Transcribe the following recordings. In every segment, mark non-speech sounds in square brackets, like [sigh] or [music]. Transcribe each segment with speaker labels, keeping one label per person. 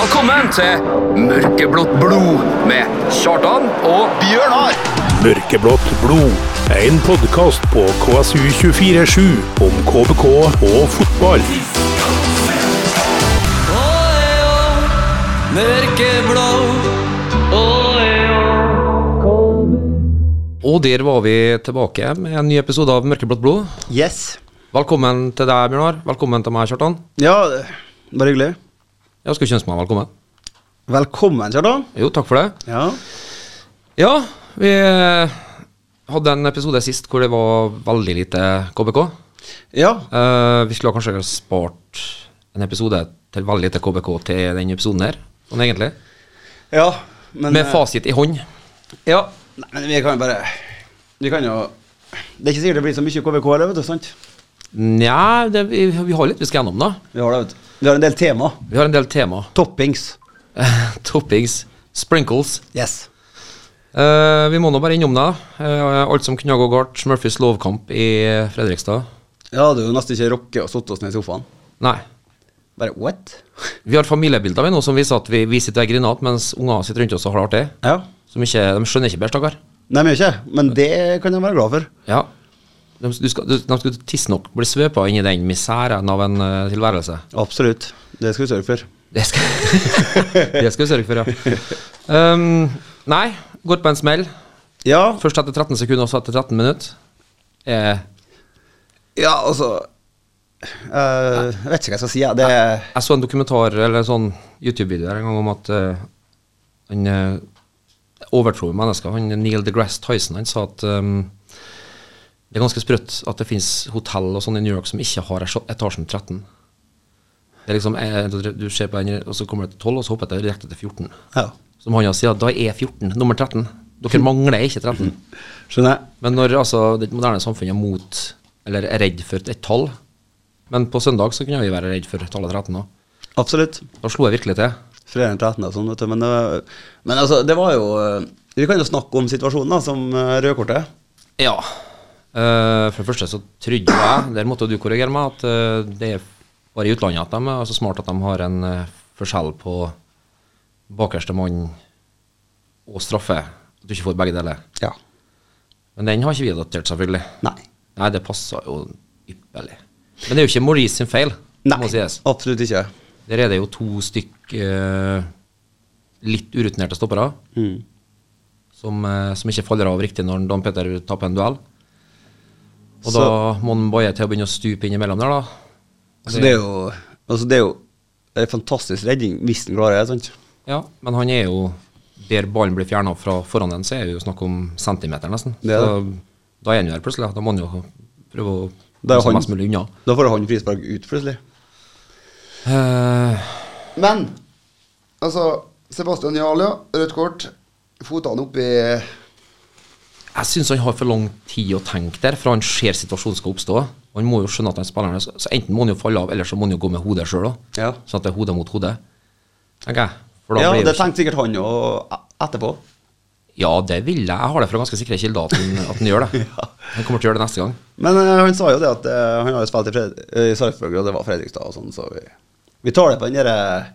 Speaker 1: Velkommen til Mørkeblått blod med Kjartan og
Speaker 2: Bjørnar!
Speaker 3: Mørkeblått blod. En podkast på KSU247 om KBK og fotball.
Speaker 4: Og der var vi tilbake med en ny episode av Mørkeblått blod.
Speaker 5: Yes.
Speaker 4: Velkommen til deg, Bjørnar. Velkommen til meg, Kjartan.
Speaker 5: Ja, det var hyggelig.
Speaker 4: Jeg skulle ønske meg velkommen.
Speaker 5: Velkommen, Kjartan.
Speaker 4: Jo, takk for det.
Speaker 5: Ja.
Speaker 4: Ja, vi eh, hadde en episode sist hvor det var veldig lite KBK.
Speaker 5: ja.
Speaker 4: Eh, vi skulle ha kanskje spart en episode til veldig lite KBK til denne episoden her, sånn egentlig.
Speaker 5: Ja. Men, eh,
Speaker 4: Med fasit i hånd.
Speaker 5: Ja. Nei, men vi kan jo bare Vi kan jo Det er ikke sikkert det blir så mye KVK heller, vet du. Sant?
Speaker 4: Nja, det- vi, vi har litt vi skal gjennom, da.
Speaker 5: Vi har det, vet du. Vi har en del tema.
Speaker 4: Vi har en del tema. [laughs]
Speaker 5: Toppings.
Speaker 4: Toppings. Sprinkles.
Speaker 5: Yes.
Speaker 4: Eh, vi må nå bare innom det. Eh, alt som kunne gå galt. Murphys lovkamp i eh, Fredrikstad.
Speaker 5: Ja, du er jo nesten ikke rocke å sitte oss ned i sofaen.
Speaker 4: Nei.
Speaker 5: Bare what?
Speaker 4: Vi har familiebilder vi nå som viser at vi, vi sitter og griner att, mens unger sitter rundt oss og har det artig.
Speaker 5: Ja.
Speaker 4: Som ikke, de skjønner ikke bedre, stakkar.
Speaker 5: Nei, men ikke. Men det kan jeg være glad for.
Speaker 4: Ja. De, du skal, du, de skulle tidsnok bli svøpa inn i den miseren av en eh, tilværelse.
Speaker 5: Absolutt. Det skal vi sørge for.
Speaker 4: Det skal, [laughs] det skal vi sørge for, ja. Um, nei, går på en smell.
Speaker 5: Ja.
Speaker 4: Først etter 13 sekunder, og så etter 13 minutter. Eh,
Speaker 5: Ja, altså eh, Jeg vet ikke hva jeg skal si. Ja. Det er
Speaker 4: Jeg så en dokumentar eller en sånn YouTube-video her en gang om at eh, han eh, overtror mennesker. Han Neil deGrasse Tyson han sa at ehm, det er ganske sprøtt at det finnes hotell og sånn i New York som ikke har etasj- etasjen 13. Det er liksom, eh, Du ser på en, og så kommer det til 12, og så hopper det direkte til 14.
Speaker 5: Ja.
Speaker 4: Som han sier, da er 14 nummer 13. Dere mangler ikke 13.
Speaker 5: Skjønner jeg.
Speaker 4: Men når altså, det moderne samfunnet er mot, eller er redd for et tall Men på søndag så kunne vi være redd for tallet 13 òg.
Speaker 5: Absolutt.
Speaker 4: Da slo jeg virkelig til.
Speaker 5: Fredag den 13. og sånn, vet du. Men, det var- men altså, det var jo eh, Vi kan jo snakke om situasjonen da, som eh, rødkortet.
Speaker 4: Ja. Eh, for det første så trodde jeg, der måtte du korrigere meg, at eh, det er bare i utlandet at de er så smart at de har en eh, forskjell på bakerste mann og straffe. At du ikke får begge deler.
Speaker 5: Ja.
Speaker 4: Men den har ikke vi adoptert, selvfølgelig.
Speaker 5: Nei.
Speaker 4: Nei, det passer jo ypperlig. Men det er jo ikke Maurice sin feil.
Speaker 5: Nei,
Speaker 4: må sies.
Speaker 5: absolutt ikke.
Speaker 4: Der er det jo to stykk eh, litt urutinerte stoppere som, eh, som ikke faller av riktig når Dan Petter taper en duell. Og da må han bare til å begynne å stupe innimellom der, da.
Speaker 5: Altså, det er jo Altså, det er jo en fantastisk redning hvis den klarer det, sant?
Speaker 4: Ja, men han er jo Der ballen blir fjerna fra foran den, så er det jo snakk om centimeter, nesten.
Speaker 5: Det er
Speaker 4: Så, da er han jo der plutselig. Da må han jo prøve å
Speaker 5: Det er
Speaker 4: komme
Speaker 5: jo
Speaker 4: seg
Speaker 5: han-
Speaker 4: mest mulig unna.
Speaker 5: Da får han frispark ut, plutselig.
Speaker 4: Eh,
Speaker 6: Men altså Sebastian Jarl, ja. Rødt kort. Fotene oppi
Speaker 4: Jeg syns han har for lang tid å tenke der, for han ser situasjonen skal oppstå. Og Han må jo skjønne at den spilleren er- Så enten må han jo falle av, eller så må han jo gå med hodet sjøl òg.
Speaker 5: Ja.
Speaker 4: Sånn at det er hode mot hode. Tenker jeg. For da
Speaker 5: Ja,
Speaker 4: blir jo
Speaker 5: det
Speaker 4: ikke-
Speaker 5: tenkte sikkert han jo e- etterpå.
Speaker 4: ja, det vil jeg. Jeg har det fra ganske sikre kilder at han, at han gjør
Speaker 5: [laughs]
Speaker 4: det. Han kommer til å gjøre det neste gang.
Speaker 5: Men eh, han sa jo det at eh, han har jo spilt i, Fred eh, i Sarpsborg, og det var Fredrikstad og sånn, så vi, vi tar det på den derre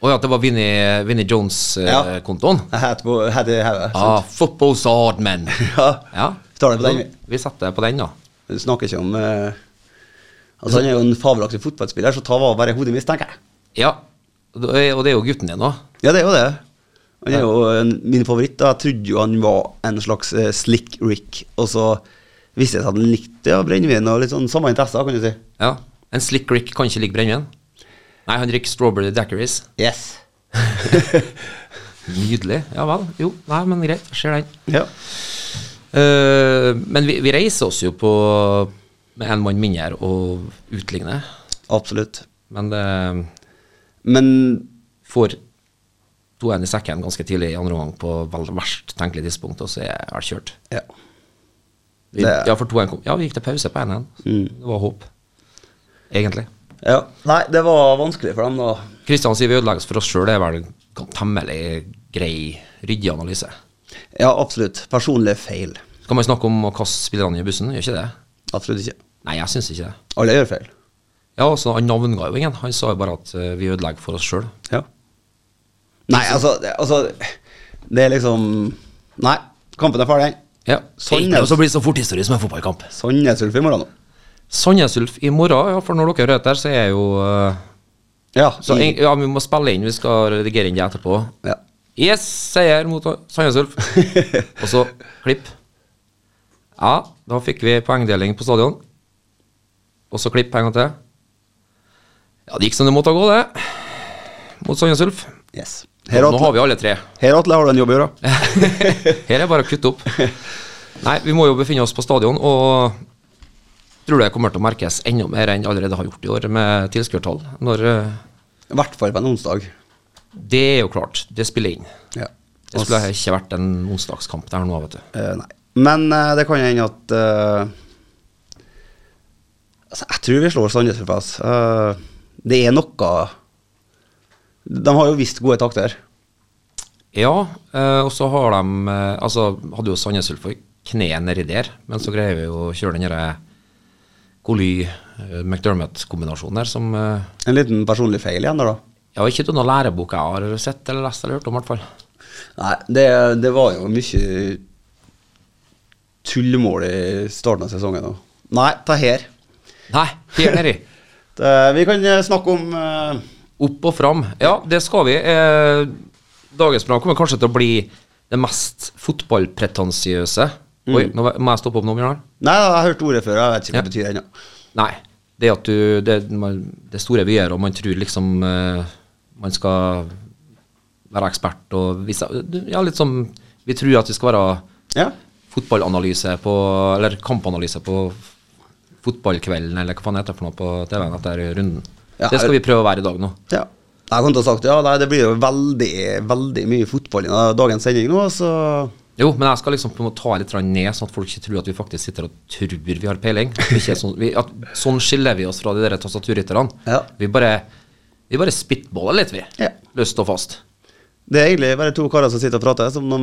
Speaker 4: Og ja, at det var Vinnie, Vinnie
Speaker 5: Ja.
Speaker 4: Jones-kontoen.
Speaker 5: eh, hat på hat i hodet.
Speaker 4: Ja. Ah, football's a hard men.
Speaker 5: [laughs] Ja.
Speaker 4: ja.
Speaker 5: Vi tar det på den, vi.
Speaker 4: Vi setter det på den, da.
Speaker 5: Du snakker ikke om eh, Altså Han er jo en fabelaktig fotballspiller, så ta vare bare hodet mitt, tenker jeg.
Speaker 4: Ja. Og det er- og det er jo gutten din òg.
Speaker 5: Ja, det er jo det. Han er jo en, min favoritt. da. Jeg trodde jo han var en slags eh, slick Rick, og så viste det seg at han likte ja, brennevin og litt sånn samme interesser, kan du si.
Speaker 4: Ja. En slick Rick kan ikke like brennevin. Nei, han drikker strawberry daiquiris.
Speaker 5: Yes.
Speaker 4: Nydelig. Ja vel. Jo, nei, men greit. Jeg ser den.
Speaker 5: Ja.
Speaker 4: Eh, men vi, vi reiser oss jo på med en mann mindre og utligner.
Speaker 5: Absolutt.
Speaker 4: Men eh, det
Speaker 5: Men
Speaker 4: får 2-1 i sekken ganske tidlig i andre omgang på vel verst tenkelig tidspunkt, og så er jeg kjørt.
Speaker 5: ja.
Speaker 4: Vi,
Speaker 5: Det-
Speaker 4: ja, for 2-1 kom. Ja, vi gikk til pause på 1-1. Det var håp, egentlig.
Speaker 5: ja. Nei, det var vanskelig for dem, da.
Speaker 4: Kristian sier vi ødelegges for oss sjøl, det er vel en gam- temmelig grei, ryddig analyse.
Speaker 5: Ja, absolutt. Personlig feil.
Speaker 4: Skal man snakke om å kaste spillerne i bussen? Gjør ikke det?
Speaker 5: Absolutt ikke.
Speaker 4: Nei, jeg syns ikke det.
Speaker 5: Alle gjør feil.
Speaker 4: Ja, altså Han navnga jo ingen. Han sa jo bare at eh, vi ødelegger for oss sjøl.
Speaker 5: Ja. Nei, altså, det, altså Det er liksom Nei, kampen er ferdig.
Speaker 4: Ja.
Speaker 5: Sånn
Speaker 4: Ikke
Speaker 5: er det.
Speaker 4: noe som blir så fort historie som en fotballkamp.
Speaker 5: Sånn er Sulf i morgen nå.
Speaker 4: Sandnesulf i morgen, ja, for når dere hører dette, så er jeg jo eh,
Speaker 5: Ja,
Speaker 4: så
Speaker 5: i-
Speaker 4: en, ja, Vi må spille inn, vi skal redigere inn det etterpå.
Speaker 5: ja. [laughs]
Speaker 4: Yes, seier mot Sandnesulf. Og så klipp. Ja, da fikk vi poengdeling på stadion. Og så klipp en gang til. Ja, det gikk som det måtte gå, det. Mot Sandnesulf.
Speaker 5: Yes. Her,
Speaker 4: Nå har
Speaker 5: Atle,
Speaker 4: vi alle tre.
Speaker 5: her Atle, har du en jobb å gjøre.
Speaker 4: Her er bare
Speaker 5: [laughs]
Speaker 4: å kutte opp. Nei, vi må jo befinne oss på stadion, og tror det kommer til å merkes enda mer enn det allerede har gjort i år med tilskuertall. Når eh,
Speaker 5: I hvert fall på en onsdag.
Speaker 4: Det er jo klart, det spiller inn.
Speaker 5: Ja.
Speaker 4: Det skulle ikke vært en onsdagskamp der nå, vet du.
Speaker 5: Eh, nei. Men eh, det kan hende at eh, altså, Jeg tror vi slår Sandnes Ulf. ass. Eh, det er noe De har jo visst gode takter.
Speaker 4: Ja, eh, og så har de eh, Altså, hadde jo Sandnes Ulf kneet nedi der, men så greier vi jo å kjøre den derre Coly-McDermott-kombinasjonen der som eh,
Speaker 5: En liten personlig feil igjen der, da.
Speaker 4: Ja, ikke noen lærebok jeg har sett eller lest eller hørt om, i hvert fall.
Speaker 5: Nei, det, det var jo mye tullmål i starten av sesongen. også. Nei, ta her.
Speaker 4: Nei, helt nedi.
Speaker 5: Det, vi kan eh, snakke om eh,
Speaker 4: Opp og fram. Ja, det skal vi. Eh, dagens program kommer kanskje til å bli det mest fotballpretensiøse. Oi, nå må jeg stoppe opp nå, Bjørnar.
Speaker 5: Nei, jeg har hørt ordet før, jeg vet ikke hva det betyr ennå.
Speaker 4: Nei. Det at du Det, man- det er store vyer, og man tror liksom eh, man skal være ekspert og vise Ja, litt som Vi tror at vi skal være
Speaker 5: Ja.
Speaker 4: fotballanalyse på Eller kampanalyse på fotballkvelden, eller hva faen heter det for noe på TV-en etter runden.
Speaker 5: Ja,
Speaker 4: det skal vi prøve å være i dag nå.
Speaker 5: Ja. Jeg kom til å ha sagt ja, nei, det blir jo veldig, veldig mye fotball i dagens sending nå, så
Speaker 4: Jo, men jeg skal liksom på en måte ta litt grann ned, sånn at folk ikke tror at vi faktisk sitter og tror vi har peiling. At vi ikke er sånn, vi, at, sånn skiller vi oss fra de der tastaturrytterne.
Speaker 5: Ja.
Speaker 4: Vi bare, vi bare spitballer litt, vi.
Speaker 5: Ja.
Speaker 4: Løst og fast.
Speaker 5: Det er egentlig bare to karer som sitter og prater, som de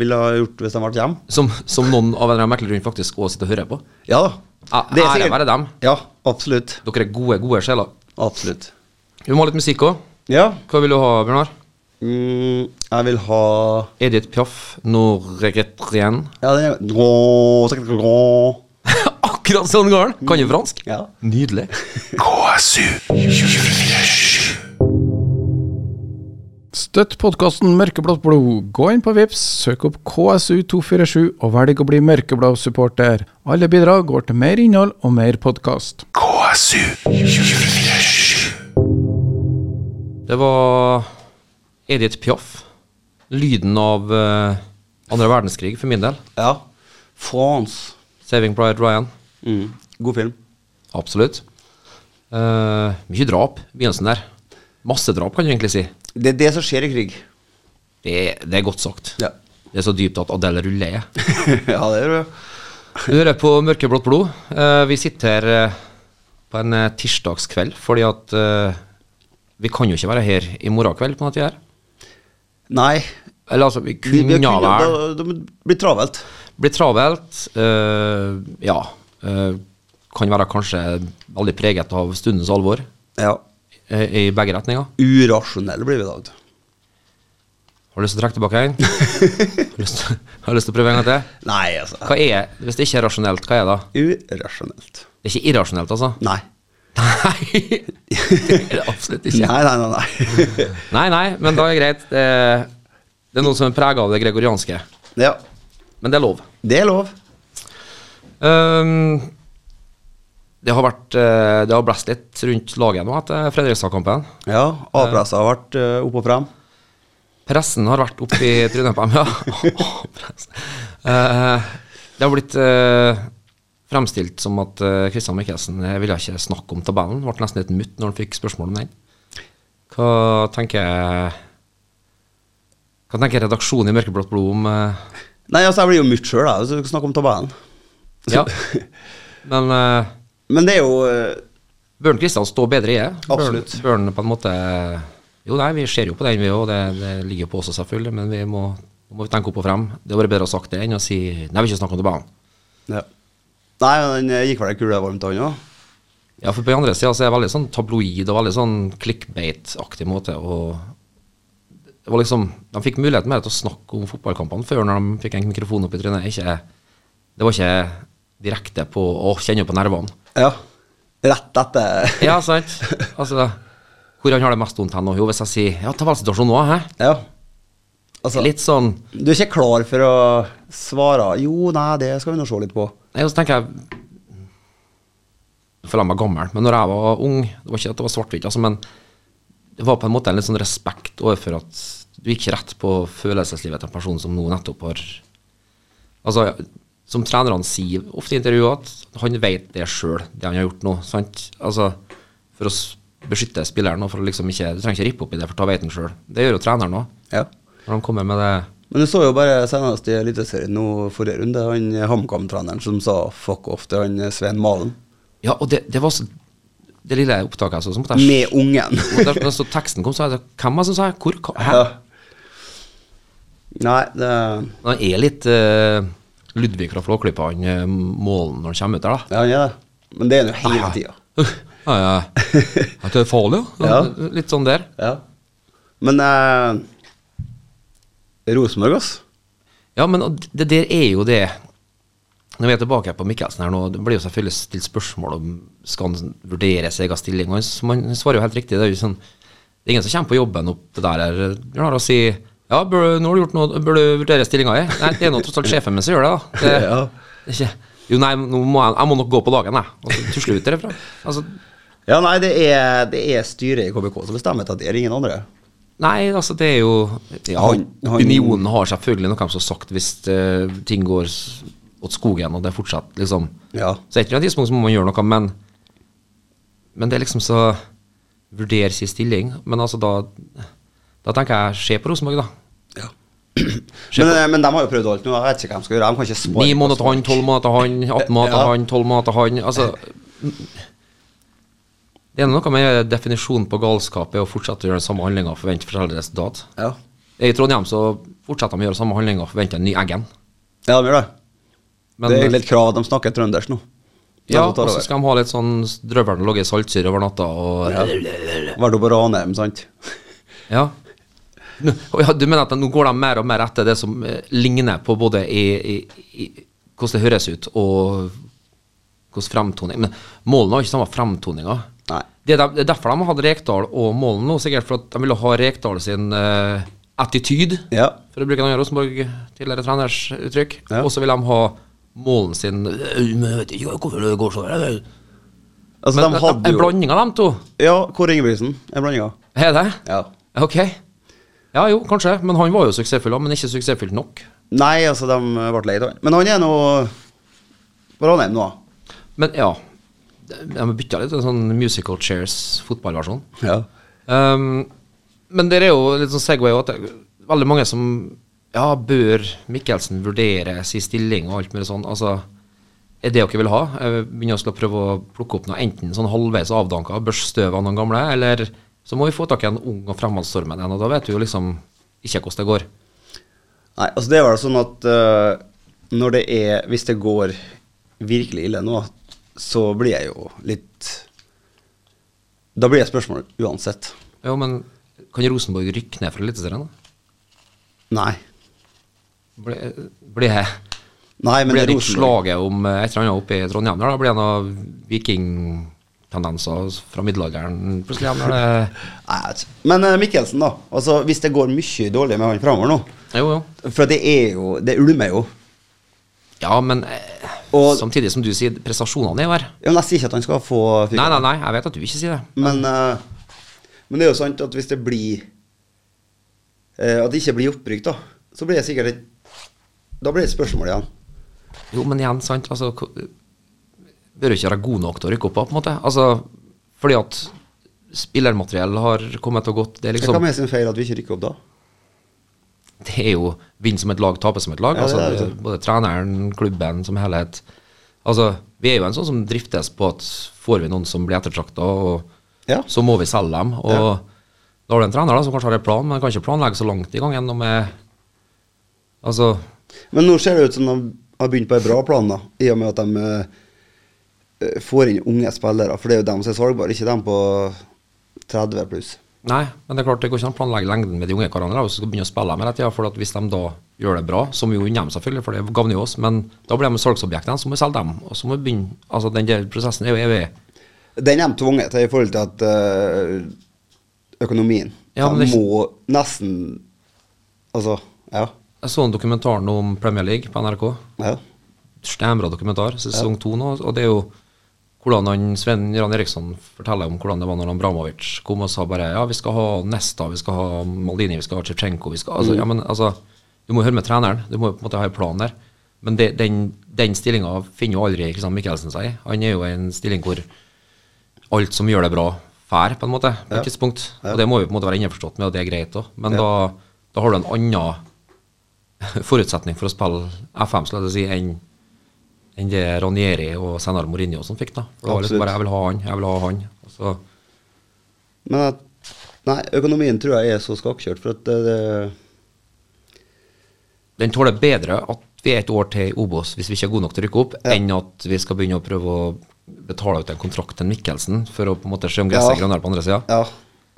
Speaker 5: ville ha gjort hvis de ble hjemme.
Speaker 4: Som, som noen av en eller annen merkelig grunn faktisk også sitter og hører på.
Speaker 5: Ja da.
Speaker 4: Ja, ære være dem.
Speaker 5: Ja, absolutt.
Speaker 4: Dere er gode, gode sjeler.
Speaker 5: Absolutt.
Speaker 4: Vi må ha litt musikk òg.
Speaker 5: Ja.
Speaker 4: Hva vil du ha, Bjørnar?
Speaker 5: Mm, jeg vil ha
Speaker 4: Edith Piaf, 'Når regrettrien'.
Speaker 5: Ja, det er Grå, sikkert grå.
Speaker 4: [laughs] Akkurat sånn går den! Kan jo fransk.
Speaker 5: Ja.
Speaker 4: Nydelig.
Speaker 3: KSU 247.
Speaker 2: Støtt podkasten Mørkeblått blod. Gå inn på Vips, søk opp KSU247 og velg å bli mørkeblå supporter. Alle bidrag går til mer innhold og mer podkast.
Speaker 3: KSU 247.
Speaker 4: Det var Edith Piaf. Lyden av eh, andre verdenskrig, for min del.
Speaker 5: ja. France.
Speaker 4: 'Saving Pride Ryan'.
Speaker 5: Mm. God film.
Speaker 4: Absolutt. Eh, mye drap i begynnelsen der. Masse drap, kan du egentlig si.
Speaker 5: Det er det som skjer i krig.
Speaker 4: Det, er- det er godt sagt.
Speaker 5: Ja.
Speaker 4: Det er så dypt at Adele ruller.
Speaker 5: [laughs] ja, det er det.
Speaker 4: [laughs] Du hører på Mørkeblått blod. Eh, vi sitter her eh, på en eh, tirsdagskveld fordi at eh, vi kan jo ikke være her i morgen kveld på noe tid her.
Speaker 5: Nei.
Speaker 4: Eller altså, vi
Speaker 5: Vi, vi
Speaker 4: kunne ha
Speaker 5: kunne,
Speaker 4: vært
Speaker 5: det, det blir travelt.
Speaker 4: Blir travelt. eh, ja. eh, kan være kanskje veldig preget av stundens alvor
Speaker 5: Ja.
Speaker 4: eh, i begge retninger.
Speaker 5: Urasjonelle blir vi i dag.
Speaker 4: Har du lyst til å trekke tilbake en?
Speaker 5: [laughs]
Speaker 4: Har du lyst til- [laughs] har du lyst til å prøve en gang til?
Speaker 5: Nei, altså.
Speaker 4: Hva er, Hvis det ikke er rasjonelt, hva er det da?
Speaker 5: Urasjonelt.
Speaker 4: Det er ikke irrasjonelt, altså?
Speaker 5: [laughs] Nei.
Speaker 4: [laughs] Nei! Det er det absolutt ikke.
Speaker 5: Nei, nei, nei. nei.
Speaker 4: Nei, nei, men da er det greit. Det, det er noe som er prega av det gregorianske.
Speaker 5: [laughs] ja.
Speaker 4: Men det er lov.
Speaker 5: Det er lov.
Speaker 4: Ehm, det har vært eh, Det har blåst litt rundt laget nå etter Fredrikstad-kampen.
Speaker 5: Ja. A-pressa har vært eh, opp og frem.
Speaker 4: Pressen har vært oppe i trynet på dem, ja. Åh, pressen. Eh, det har blitt eh, fremstilt som at eh, Christian Michelsen eh, ville ikke snakke om tabellen. Ble nesten litt mutt når han fikk spørsmål om den. Hva tenker Hva tenker redaksjonen i Mørkeblått blod om eh,
Speaker 5: Nei, altså, jeg blir jo mutt sjøl, jeg, hvis vi skal snakke om tabellen. [laughs]
Speaker 4: Ja. Men uh,
Speaker 5: Men det er jo eh,
Speaker 4: Børn Kristian står bedre i det.
Speaker 5: Absolutt.
Speaker 4: Børn, børn på en måte Jo, nei, vi ser jo på den, vi òg. Det, det ligger jo på oss også, selvfølgelig. Men vi må, nå må vi tenke opp og frem. Det hadde vært bedre å ha sagt det enn å si Nei, vi vil ikke snakke om tilbake.
Speaker 5: ja. Nei, men den eh, gikk vel ei kule varmt, han òg.
Speaker 4: Ja, for på den andre sida så er det veldig sånn tabloid og veldig sånn clickbait-aktig måte å det var liksom, De fikk muligheten mer til å snakke om fotballkampene før når de fikk en mikrofon opp i trynet. Ikke, det var ikke direkte på å kjenne på
Speaker 5: [laughs]
Speaker 4: nervene.
Speaker 5: Ja. Rett etter.
Speaker 4: Ja, sant? Altså, hvor han har det mest vondt hen nå? Jo, hvis jeg sier ja, ta valgsituasjon nå, hæ?
Speaker 5: Ja. Altså,
Speaker 4: Litt sånn
Speaker 5: du er ikke klar for å svare 'jo, nei, det skal vi nå se litt på'.
Speaker 4: Nei, og så tenker jeg Jeg føler meg gammel, men når jeg var ung Det var ikke at det var svart-hvitt, altså, men det var på en måte en litt sånn respekt overfor at du gikk rett på følelseslivet til en person som nå nettopp har Altså, ja, som trenerne sier ofte i intervjuer, at han vet det sjøl, det han har gjort nå. sant? Altså, For å s- beskytte spilleren og for å liksom ikke Du trenger ikke rippe opp i det, for da vet han sjøl. Det gjør jo treneren òg.
Speaker 5: Ja.
Speaker 4: Når de kommer med det
Speaker 5: Men du så jo bare senest i Eliteserien nå forrige runde, han HamKam-treneren som sa 'fuck off' til han Svein Malen.
Speaker 4: Ja, og det, det var så Det lille opptaket jeg så, så måtte jeg
Speaker 5: Med ungen.
Speaker 4: Og der, da så teksten kom, så er det hvem er det som sa hvor? hva- Hæ?
Speaker 5: [laughs] ja. Nei, det
Speaker 4: Han er litt eh, Ludvig fra Flåklypa, han eh, målen når han kommer ut der, da.
Speaker 5: Ja, han gjør det. Men det er han jo hele tida.
Speaker 4: Uh, [laughs] ja, ja. Er ikke det farlig, da?
Speaker 5: Ja.
Speaker 4: Litt sånn der.
Speaker 5: [laughs] Ja. Men eh, Rosenborg, ass.
Speaker 4: Ja, men og det der er jo det Når vi er tilbake på Mikkelsen her nå, det blir jo selvfølgelig stilt spørsmål om skal han vurdere sin egen stilling. Og han s- man svarer jo helt riktig. Det er jo sånn det er ingen som kommer på jobben opp det der her. Det er bare å si ja, bør, nå har du gjort noe, bør du vurdere stillinga di? Nei, det er nå tross alt sjefen min som gjør det, da. Det,
Speaker 5: [laughs] Ja.
Speaker 4: det er ikke, jo, nei, nå må jeg, jeg må nok gå på dagen, jeg. Og så tusler vi ut derfra. Altså,
Speaker 5: Ja, nei, det er, det er styret i KBK som bestemmer at det er ingen andre.
Speaker 4: Nei, altså det er jo ja,
Speaker 5: Han- han-
Speaker 4: Unionen har selvfølgelig noe som har sagt hvis eh, ting går s- åt skogen, og det er fortsatt liksom
Speaker 5: Ja.
Speaker 4: Så et eller annet tidspunkt så må man gjøre noe, men Men det er liksom så Vurder sin stilling. Men altså da Da tenker jeg se på Rosenborg, da.
Speaker 5: Men, eh, men de har jo prøvd alt nå. Jeg vet ikke hva de skal gjøre. De kan ikke sparke.
Speaker 4: Ni måneder til han, tolv måneder til han, 18 måneder til
Speaker 5: Ja.
Speaker 4: han, 12 måneder til han. Altså Det er noe med definisjonen på galskap er å fortsette å gjøre den samme handlinga og forvente forskjellig resultat.
Speaker 5: Ja.
Speaker 4: I Trondheim så fortsetter de å gjøre samme handlinga og forventer en ny Eggen.
Speaker 5: ja, de gjør det.
Speaker 4: Men,
Speaker 5: det er egentlig et krav at de snakker trøndersk nå.
Speaker 4: ja,
Speaker 5: De tar
Speaker 4: og så
Speaker 5: over.
Speaker 4: skal de ha litt sånn drøvelen ligger i saltsyre over natta og ja.
Speaker 5: Vært oppe på Ranheim, sant?
Speaker 4: Ja. Nå- og ja. Du mener at nå går de mer og mer etter det som eh, ligner på både i, i, i hvordan det høres ut og hvordan fremtoning Men målene har ikke samme fremtoninga.
Speaker 5: Nei.
Speaker 4: Det, er de- det er derfor de har hatt Rekdal og målen nå, sikkert for at de ville ha Rekdal sin eh, attityd,
Speaker 5: Ja.
Speaker 4: for å bruke en annen Rosenborg tidligere treners uttrykk.
Speaker 5: Ja.
Speaker 4: Og så vil de ha målen sin «Øh, men jeg vet ikke hvorfor det går sånn, eller?»
Speaker 5: Altså,
Speaker 4: Men
Speaker 5: de
Speaker 4: en-
Speaker 5: hadde
Speaker 4: En
Speaker 5: jo
Speaker 4: blanding av dem to.
Speaker 5: Ja, Kåre Ingebrigtsen er blandinga.
Speaker 4: Er det?
Speaker 5: Ja.
Speaker 4: Ok. Ja jo, kanskje. Men han var jo suksessfull, da, men ikke suksessfull nok.
Speaker 5: Nei, altså, de ble lei av han. Men han er nå på Ranheim nå.
Speaker 4: Men ja. De bytta litt til en sånn musical chairs fotballversjon.
Speaker 5: Ja.
Speaker 4: Ehm, men det er jo litt sånn Segway også, at det er veldig mange som Ja, bør Mikkelsen vurdere sin stilling og alt mulig sånn? Altså, er det dere vil ha? Jeg begynner å skulle prøve å plukke opp noe enten sånn halvveis avdanka, børste støv av noen gamle, eller så må vi få tak i en ung og fremadstormende en, og da vet du jo liksom ikke hvordan det går.
Speaker 5: Nei, altså det er vel sånn at eh, når det er Hvis det går virkelig ille nå, så blir jeg jo litt Da blir det spørsmål uansett.
Speaker 4: Jo, men kan Rosenborg rykke ned fra Eliteserien? da?
Speaker 5: Nei.
Speaker 4: Blir blir det
Speaker 5: Nei, men
Speaker 4: blir det ikke
Speaker 5: Rosenborg
Speaker 4: slaget om eh, et eller annet oppe i Trondheim? der, Da blir det noen vikingtendenser fra middelalderen plutselig? igjen, når
Speaker 5: [laughs]
Speaker 4: det-
Speaker 5: Nei, jeg vet ikke. Men eh, Mikkelsen, da. Altså Hvis det går mye dårlig med han framover nå
Speaker 4: Jo, jo.
Speaker 5: For det er jo Det ulmer jo.
Speaker 4: Ja, men eh,
Speaker 5: Og-
Speaker 4: samtidig som du sier, prestasjonene er jo her.
Speaker 5: Ja, Men jeg sier ikke at han skal få fyr-
Speaker 4: Nei, nei, nei, jeg vet at du ikke sier det.
Speaker 5: Men, eh, men det er jo sant at hvis det blir eh, At det ikke blir opprykk, da, så blir det sikkert et Da blir det et spørsmål igjen.
Speaker 4: Jo, men igjen, sant. Altså, ko- bør jo ikke være god nok til å rykke opp, da, på en måte. Altså, fordi at spillermateriell har kommet og gått. Det er liksom
Speaker 5: Hva med sin feil at vi ikke rykker opp da?
Speaker 4: det er jo vinn som et lag, tape som et lag.
Speaker 5: Ja, det
Speaker 4: altså,
Speaker 5: er det.
Speaker 4: Både treneren, klubben som helhet. Altså, vi er jo en sånn som driftes på at får vi noen som blir ettertrakta,
Speaker 5: Ja.
Speaker 4: så må vi selge dem. Og
Speaker 5: Ja.
Speaker 4: da har du en trener da, som kanskje har en plan, men kan ikke planlegge så langt i gangen. og med- Altså,
Speaker 5: Men nå ser det ut som de har begynt på en bra plan, da, i og med at de eh, får inn unge spillere. For det er jo dem som er salgbare, ikke dem på 30 pluss.
Speaker 4: Nei, men det er klart det går ikke an å planlegge lengden med de unge karene da, hvis du skal begynne å spille med det. Ja, for at hvis de da gjør det bra, som jo gjør de selvfølgelig, for det gagner jo oss, men da blir de salgsobjektene, så må vi selge dem. Og så må vi begynne Altså, den der prosessen er jo evig.
Speaker 5: Den er de tvunget til i forhold til at eh, økonomien
Speaker 4: Ja, men
Speaker 5: De
Speaker 4: det-
Speaker 5: må nesten Altså, ja.
Speaker 4: Jeg så en dokumentar nå om Premier League på NRK.
Speaker 5: ja.
Speaker 4: Steinbra dokumentar, sesong to nå. Og det er jo hvordan han, Sven Jan Eriksson forteller om hvordan det var når han Bramovic kom og sa bare ja, vi skal ha Nesta, vi skal ha Maldini, vi skal ha Tsjetsjenko vi skal, altså, ja, men, altså, Du må høre med treneren, du må jo på en måte ha en plan der. Men det, den, den stillinga finner jo aldri Kristian Mikkelsen seg i. Han er jo i en stilling hvor alt som gjør det bra, fær, på en måte. på et tidspunkt. Og det må vi på en måte være innforstått med, og det er greit òg. Men da, da har du en annen [laughs] forutsetning for å spille FM, skal jeg si, enn enn det Ranieri og senere Mourinho som fikk. da. For det var liksom
Speaker 5: Absolutt.
Speaker 4: bare 'jeg vil ha han, jeg vil ha han'. Altså, Og så,
Speaker 5: Men at, nei, økonomien tror jeg er så skakkjørt, for at det, det
Speaker 4: den tåler bedre at vi er et år til i Obos hvis vi ikke er gode nok til å rykke opp, enn at vi skal begynne å prøve å betale ut en kontrakt til Mikkelsen for å på en måte se om gresset er
Speaker 5: Ja.
Speaker 4: grønnere på andre sida.
Speaker 5: Ja,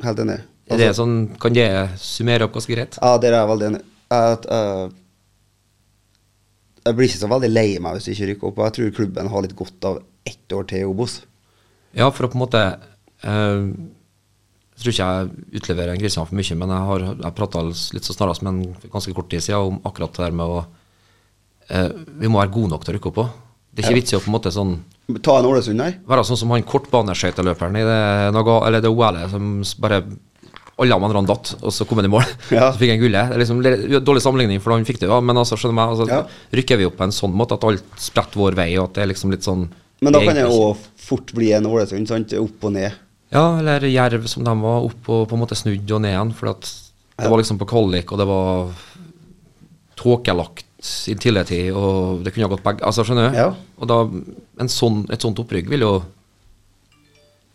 Speaker 5: helt enig.
Speaker 4: Er det sånn, kan det summere opp ganske greit?
Speaker 5: Ja, der er jeg veldig enig. Jeg, at, eh, jeg blir ikke så veldig lei meg hvis vi ikke rykker opp. og Jeg tror klubben har litt godt av ett år til i Obos.
Speaker 4: Ja, for å på en måte eh, Jeg tror ikke jeg utleverer Kristian for mye, men jeg har jeg prata litt så snarest, men for ganske kort tid siden om akkurat det der med å eh, Vi må være gode nok til å rykke opp òg. Det er ikke vits i å på en måte sånn
Speaker 5: Ta en Ålesund her.
Speaker 4: være sånn som han kortbaneskøyteløperen i det, Naga, eller det OL-et som s- bare alle de andre han datt, og så kom han i mål.
Speaker 5: Ja.
Speaker 4: [laughs] Så fikk han gullet. Det er liksom litt Dårlig sammenligning, for han fikk det, ja, men altså, skjønner du meg, altså,
Speaker 5: Ja.
Speaker 4: rykker vi opp på en sånn måte at alt spretter vår vei, og at det er liksom litt sånn
Speaker 5: Men da kan
Speaker 4: egentlig
Speaker 5: jeg
Speaker 4: ikke-
Speaker 5: jo fort bli en Ålesund, sant? Opp og ned.
Speaker 4: ja, eller Jerv som de var opp og på en måte snudd og ned igjen. For at det var liksom på kvalik, og det var tåkelagt i tidligere tid, og det kunne ha gått begge Altså, skjønner du?
Speaker 5: Ja.
Speaker 4: Og da en sånn, et sånt opprykk vil jo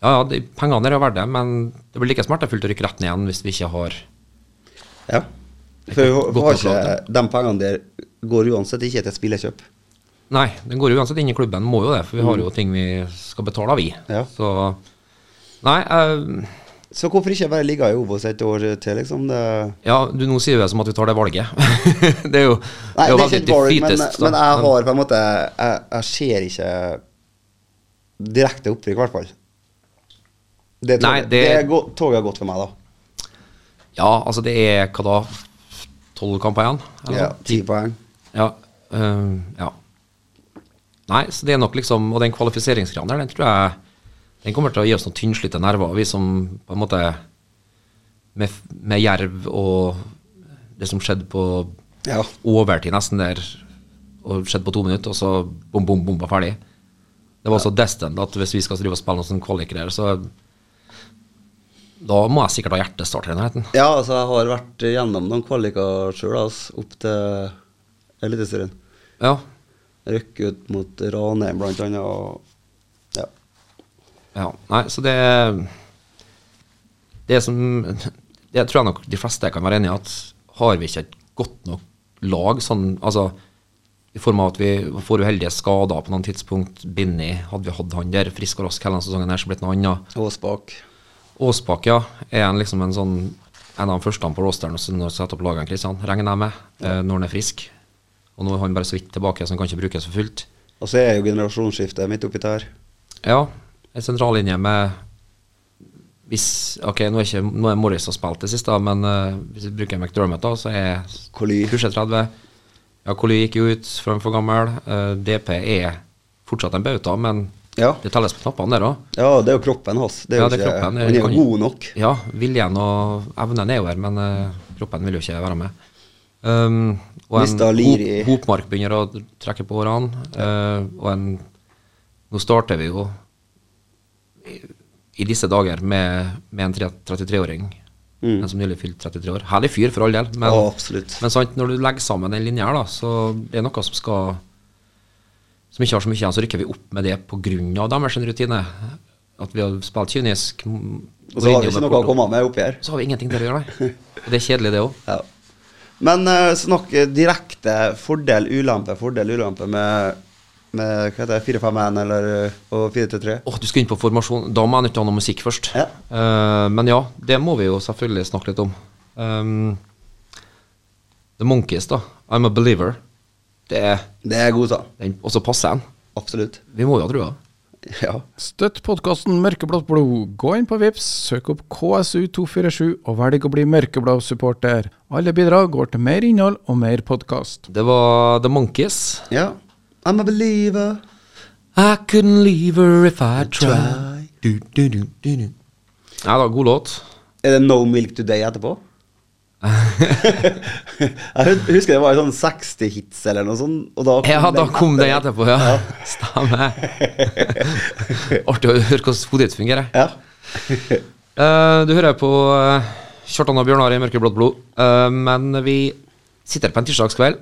Speaker 4: Ja, ja, de, pengene er jo verdt det, men det blir like smertefullt å rykke rett ned igjen hvis vi ikke har
Speaker 5: Ja. For vi har-
Speaker 4: Godt
Speaker 5: vi har
Speaker 4: å prate.
Speaker 5: ikke, de pengene der går uansett ikke til spillekjøp.
Speaker 4: Nei, den går jo uansett inn i klubben, må jo det, for vi har jo ting vi skal betale av, vi.
Speaker 5: Mm. Ja.
Speaker 4: Så Nei, eh,
Speaker 5: Så hvorfor ikke bare ligge i Obos et år til, liksom? Det
Speaker 4: ja, du, nå sier vi det som at vi tar det valget. [laughs] det er jo,
Speaker 5: Nei,
Speaker 4: jo
Speaker 5: det er ikke et valg, men,
Speaker 4: defeatist, da.
Speaker 5: men jeg har på en måte Jeg, jeg ser ikke direkte opprykk, i hvert fall. Det toget,
Speaker 4: Nei, det-
Speaker 5: det er gå- toget har gått for meg, da.
Speaker 4: Ja, altså det er hva da? Tolv kamper igjen? eller
Speaker 5: Ja,
Speaker 4: noe?
Speaker 5: Ti poeng.
Speaker 4: Ja, øh, ja. Nei, så det er nok liksom Og den kvalifiseringsgreia der, den tror jeg Den kommer til å gi oss noen tynnslitte nerver, vi som på en måte Med, med Jerv og det som skjedde på
Speaker 5: Ja.
Speaker 4: overtid nesten der, og skjedde på to minutter, og så bom, bom, bom, var ferdig. Det var så destined at hvis vi skal drive og spille noen sånne kvalikgreier, så Da må jeg sikkert ha hjertestarter i nærheten.
Speaker 5: ja, altså, jeg har vært gjennom noen kvaliker sjøl, altså, opp til Eliteserien.
Speaker 4: Ja.
Speaker 5: Røkk ut mot Ranheim, blant annet. Og, ja.
Speaker 4: Ja, nei, så det Det som Det tror jeg nok de fleste kan være enig i, at har vi ikke et godt nok lag sånn Altså i form av at vi får uheldige skader på noen tidspunkt. Binni, hadde vi hatt han der frisk og rask hele denne sesongen, her, så blitt noe annet.
Speaker 5: Og spak.
Speaker 4: Åsbakk, ja, er en, liksom en sånn en av de første på rosteren som har satt opp lagene, Kristian, regner jeg med, eh, når han er frisk. Og nå er han bare så vidt tilbake, så han kan ikke brukes for fullt.
Speaker 5: Og så er jo generasjonsskiftet midt oppi der.
Speaker 4: Ja, en sentrallinje med hvis, Ok, nå er ikke nå er Morris har spilt det siste, da, men eh, hvis vi bruker McDermott, da, så er
Speaker 5: Coly.
Speaker 4: kurset 30. Ja, Coly gikk jo ut, Frøm for gammel. eh, DP er fortsatt en bauta, men
Speaker 5: Ja.
Speaker 4: det telles på knappene der òg.
Speaker 5: Ja, det er jo kroppen hans. Det er jo
Speaker 4: Ja, det er
Speaker 5: ikke,
Speaker 4: kroppen.
Speaker 5: Han er
Speaker 4: Kan-
Speaker 5: jo god nok.
Speaker 4: Ja, viljen og evnen er jo her, men eh, kroppen vil jo ikke være med. Um, og en
Speaker 5: Mista lir i-
Speaker 4: hop- hopmark begynner å trekke på årene. eh, og en Nå starter vi jo i, i disse dager med, med en tre- 33-åring. En som nylig fylte 33 år. Herlig fyr, for all del, men,
Speaker 5: Ja, Mm. absolutt.
Speaker 4: men sant, når du legger sammen den linja her, da, så det er noe som skal som ikke har så mye igjen, så rykker vi opp med det pga. deres rutine. At vi har spilt kynisk. mm, m-
Speaker 5: Og så har
Speaker 4: Mourinho
Speaker 5: vi ikke
Speaker 4: med
Speaker 5: noe å
Speaker 4: Porto.
Speaker 5: komme med oppi her.
Speaker 4: Så har vi ingenting til å gjøre, nei. Og det er kjedelig, det òg.
Speaker 5: Ja. Men eh, snakk eh, direkte fordel, ulempe, fordel, ulempe med med hva heter det, 4-5-1 eller eh, og 4-3-3.
Speaker 4: Åh, du skal inn på formasjon. Da må jeg nødt til å ha noe musikk først.
Speaker 5: Ja.
Speaker 4: Eh, men ja, det må vi jo selvfølgelig snakke litt om. Um, The Monkeys, da. I'm a believer. Det er
Speaker 5: Det er god sang.
Speaker 4: den. Og så passer den.
Speaker 5: Absolutt. [laughs]
Speaker 4: Vi må jo ha trua.
Speaker 5: Ja.
Speaker 2: Støtt podkasten Mørkeblått blod. Gå inn på Vips, søk opp KSU247 og velg å bli mørkeblå-supporter. Alle bidrag går til mer innhold og mer podkast.
Speaker 4: Det var The Monkeys.
Speaker 5: ja. I'm a believer.
Speaker 4: I couldn't leave her if I tried. Du, du, du, du, du. Nei da, god låt.
Speaker 5: Er det No Milk Today etterpå? [laughs] jeg hus- husker det var en sånn 60 hits eller noe sånt. Og da
Speaker 4: Ja, da
Speaker 5: den
Speaker 4: kom den
Speaker 5: etter.
Speaker 4: etterpå, ja. Stemmer. Artig å høre hvordan hodet ditt fungerer.
Speaker 5: [laughs] Ja.
Speaker 4: Eh, du hører på eh, Kjartan og Bjørnar i Mørkeblått blod, Eh, men vi sitter på en tirsdagskveld.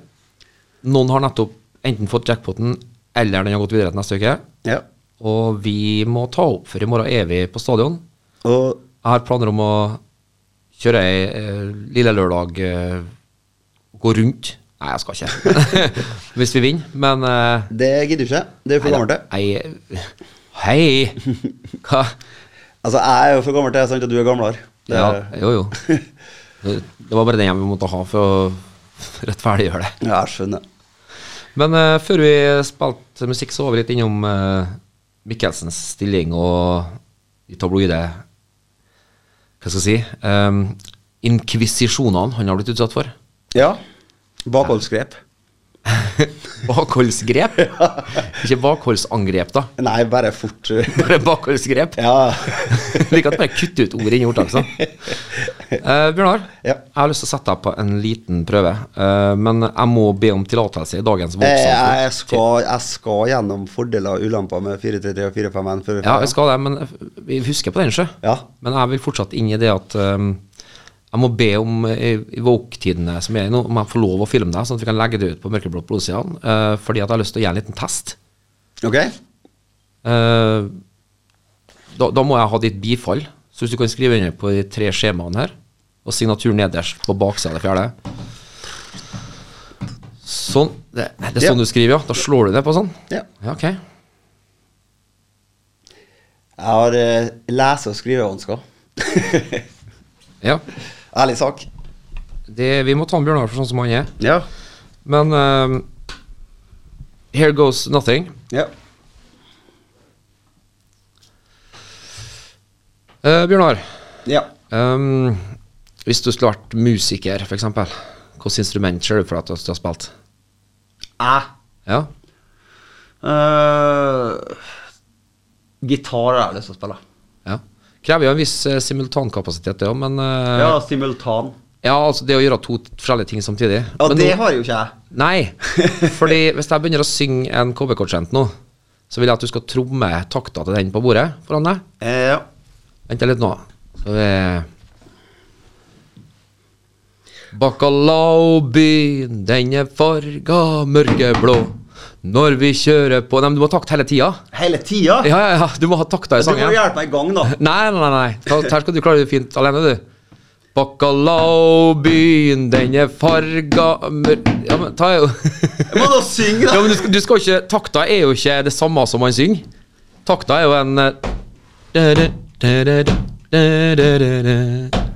Speaker 4: Noen har nettopp enten fått jackpoten, eller den har gått videre til neste uke.
Speaker 5: ja.
Speaker 4: Og vi må ta opp, for i morgen er vi på stadion.
Speaker 5: Og
Speaker 4: Jeg har planer om å kjøre ei eh, lille lørdag, eh, gå rundt. Nei, jeg skal ikke. [laughs] Hvis vi vinner. Men eh,
Speaker 5: det gidder du ikke. Det er du for gammel til.
Speaker 4: nei, Hei!
Speaker 5: [laughs]
Speaker 4: Hva?
Speaker 5: Altså, jeg er jo for gammel til, sant, og du er gamlere. Det
Speaker 4: Ja,
Speaker 5: er-
Speaker 4: jo,
Speaker 5: [laughs]
Speaker 4: jo. Det det var bare den jeg måtte ha for å rettferdiggjøre det.
Speaker 5: Ja, jeg skjønner.
Speaker 4: Men eh, før vi spilte musikk, så var vi litt innom eh, Mikkelsens stilling og de tabloide Hva skal jeg si um, Inkvisisjonene han har blitt utsatt for.
Speaker 5: Ja. Bakholdsgrep.
Speaker 4: Bakholdsgrep.
Speaker 5: [laughs]
Speaker 4: Ikke bakholdsangrep, da.
Speaker 5: Nei, bare fort. [laughs]
Speaker 4: Bare bakholdsgrep.
Speaker 5: ja.
Speaker 4: Liker at du bare kutter ut ordet inni
Speaker 5: altså. [laughs]
Speaker 4: ordtaket. Uh, Bjørnar,
Speaker 5: Ja.
Speaker 4: jeg har lyst til å sette deg på en liten prøve. eh, men jeg må be om tillatelse i dagens
Speaker 5: Jeg,
Speaker 4: voksensamfunn.
Speaker 5: Eh, jeg, skal, jeg skal gjennom fordeler og ulemper med 433 og 451 før
Speaker 4: Ja, jeg skal det, men eh, vi husker på den, ikke?
Speaker 5: Ja.
Speaker 4: Men jeg vil fortsatt inn i det at um, jeg må be om eh, i Woke-tidene som er i nå, om jeg får lov å filme deg, sånn at vi kan legge det ut på Mørkeblått blodsidene. eh, fordi at jeg har lyst til å gjøre en liten test.
Speaker 5: Ok?
Speaker 4: Eh, da, da må jeg ha ditt bifall. Så hvis du kan skrive under på de tre skjemaene her, og signatur nederst på baksida av det fjerde. Sånn. Det, det er
Speaker 5: Ja.
Speaker 4: sånn du skriver, ja. Da slår du det på sånn?
Speaker 5: Ja.
Speaker 4: Ja, ok.
Speaker 5: Jeg har eh, lese- og skrivevansker.
Speaker 4: Ja.
Speaker 5: [laughs] Ærlig sak.
Speaker 4: Det, vi må ta en Bjørnar for sånn som han er.
Speaker 5: Ja.
Speaker 4: Men ehm, Here goes nothing.
Speaker 5: ja.
Speaker 4: Eh, Bjørnar,
Speaker 5: Ja.
Speaker 4: ehm, hvis du skulle vært musiker, f.eks., hvilket instrument ser du for deg at du har spilt?
Speaker 5: Jeg
Speaker 4: Ja,
Speaker 5: eh, Gitar har jeg lyst til å spille.
Speaker 4: ja. Krever jo en viss eh, simultankapasitet, det òg, men eh,
Speaker 5: Ja,
Speaker 4: ja.
Speaker 5: simultan.
Speaker 4: altså det å gjøre to t- forskjellige ting samtidig.
Speaker 5: Ja,
Speaker 4: Men
Speaker 5: det
Speaker 4: nå-
Speaker 5: har jo ikke jeg. [laughs]
Speaker 4: Nei, fordi hvis jeg begynner å synge en KB-kortsent nå, så vil jeg at du skal tromme takta til den på bordet foran deg.
Speaker 5: Eh, ja.
Speaker 4: Vent litt nå. Så vi Bacalaobyen, den er farga mørkeblå. Når vi kjører på Nei, men du må ha takt hele tida.
Speaker 5: Hele tida?
Speaker 4: Ja, ja, ja, du må ha takta
Speaker 5: du
Speaker 4: i
Speaker 5: må
Speaker 4: sangen. Nei,
Speaker 5: hjelpe meg i gang, da.
Speaker 4: nei, nei. nei. Ta- Her skal du klare det fint alene, du. Bacalaobyen, den er farga mør... Ja, men ta jo [laughs]
Speaker 5: Jeg må da synge, [laughs] da.
Speaker 4: Ja, men du skal, du skal ikke Takta er jo ikke det samme som man synger. Takta er jo en eh, Det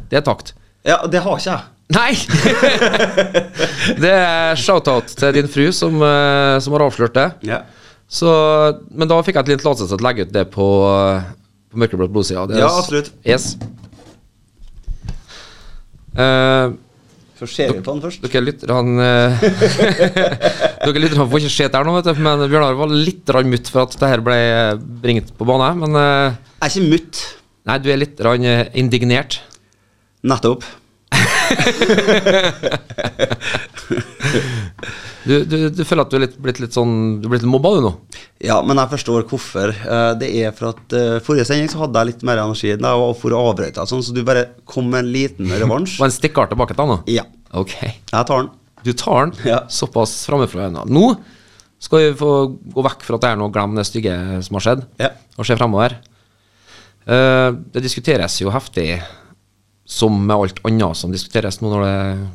Speaker 4: er takt.
Speaker 5: Ja, det har ikke jeg.
Speaker 4: Nei! [laughs] det er shout-out til din fru som, eh, som har avslørt det.
Speaker 5: Ja.
Speaker 4: Så, men da fikk jeg et liten tillatelse til å legge ut det på, eh, på Mørkeblått blodsida. Det er
Speaker 5: Ja,
Speaker 4: s-
Speaker 5: absolutt.
Speaker 4: Yes. Eh,
Speaker 5: Så ser vi på den først.
Speaker 4: dere lytterne eh, [laughs] Dere lytterne får ikke se det her nå, vet du, men Bjørnar var litt rann mutt for at det her ble bringet på bane. Men eh,
Speaker 5: Jeg er ikke mutt.
Speaker 4: nei, du er litt rann eh, indignert.
Speaker 5: Nettopp.
Speaker 4: Du, du, du føler at du er litt, blitt litt sånn Du er blitt litt mobba, du nå?
Speaker 5: Ja, men jeg forstår hvorfor. Eh, Det er for at eh, forrige sending så hadde jeg litt mer energi. Da jeg var for avbrøyta, og sånn, så du bare kom med en liten revansj.
Speaker 4: Og en stikkar tilbake til han nå?
Speaker 5: Ja.
Speaker 4: Ok.
Speaker 5: Jeg tar den.
Speaker 4: Du tar den
Speaker 5: Ja.
Speaker 4: såpass framifrå øynene. Nå skal vi få gå vekk fra at det er noe å glemme det stygge som har skjedd,
Speaker 5: Ja.
Speaker 4: og se fremover. Eh, det diskuteres jo heftig, som med alt annet som diskuteres nå når det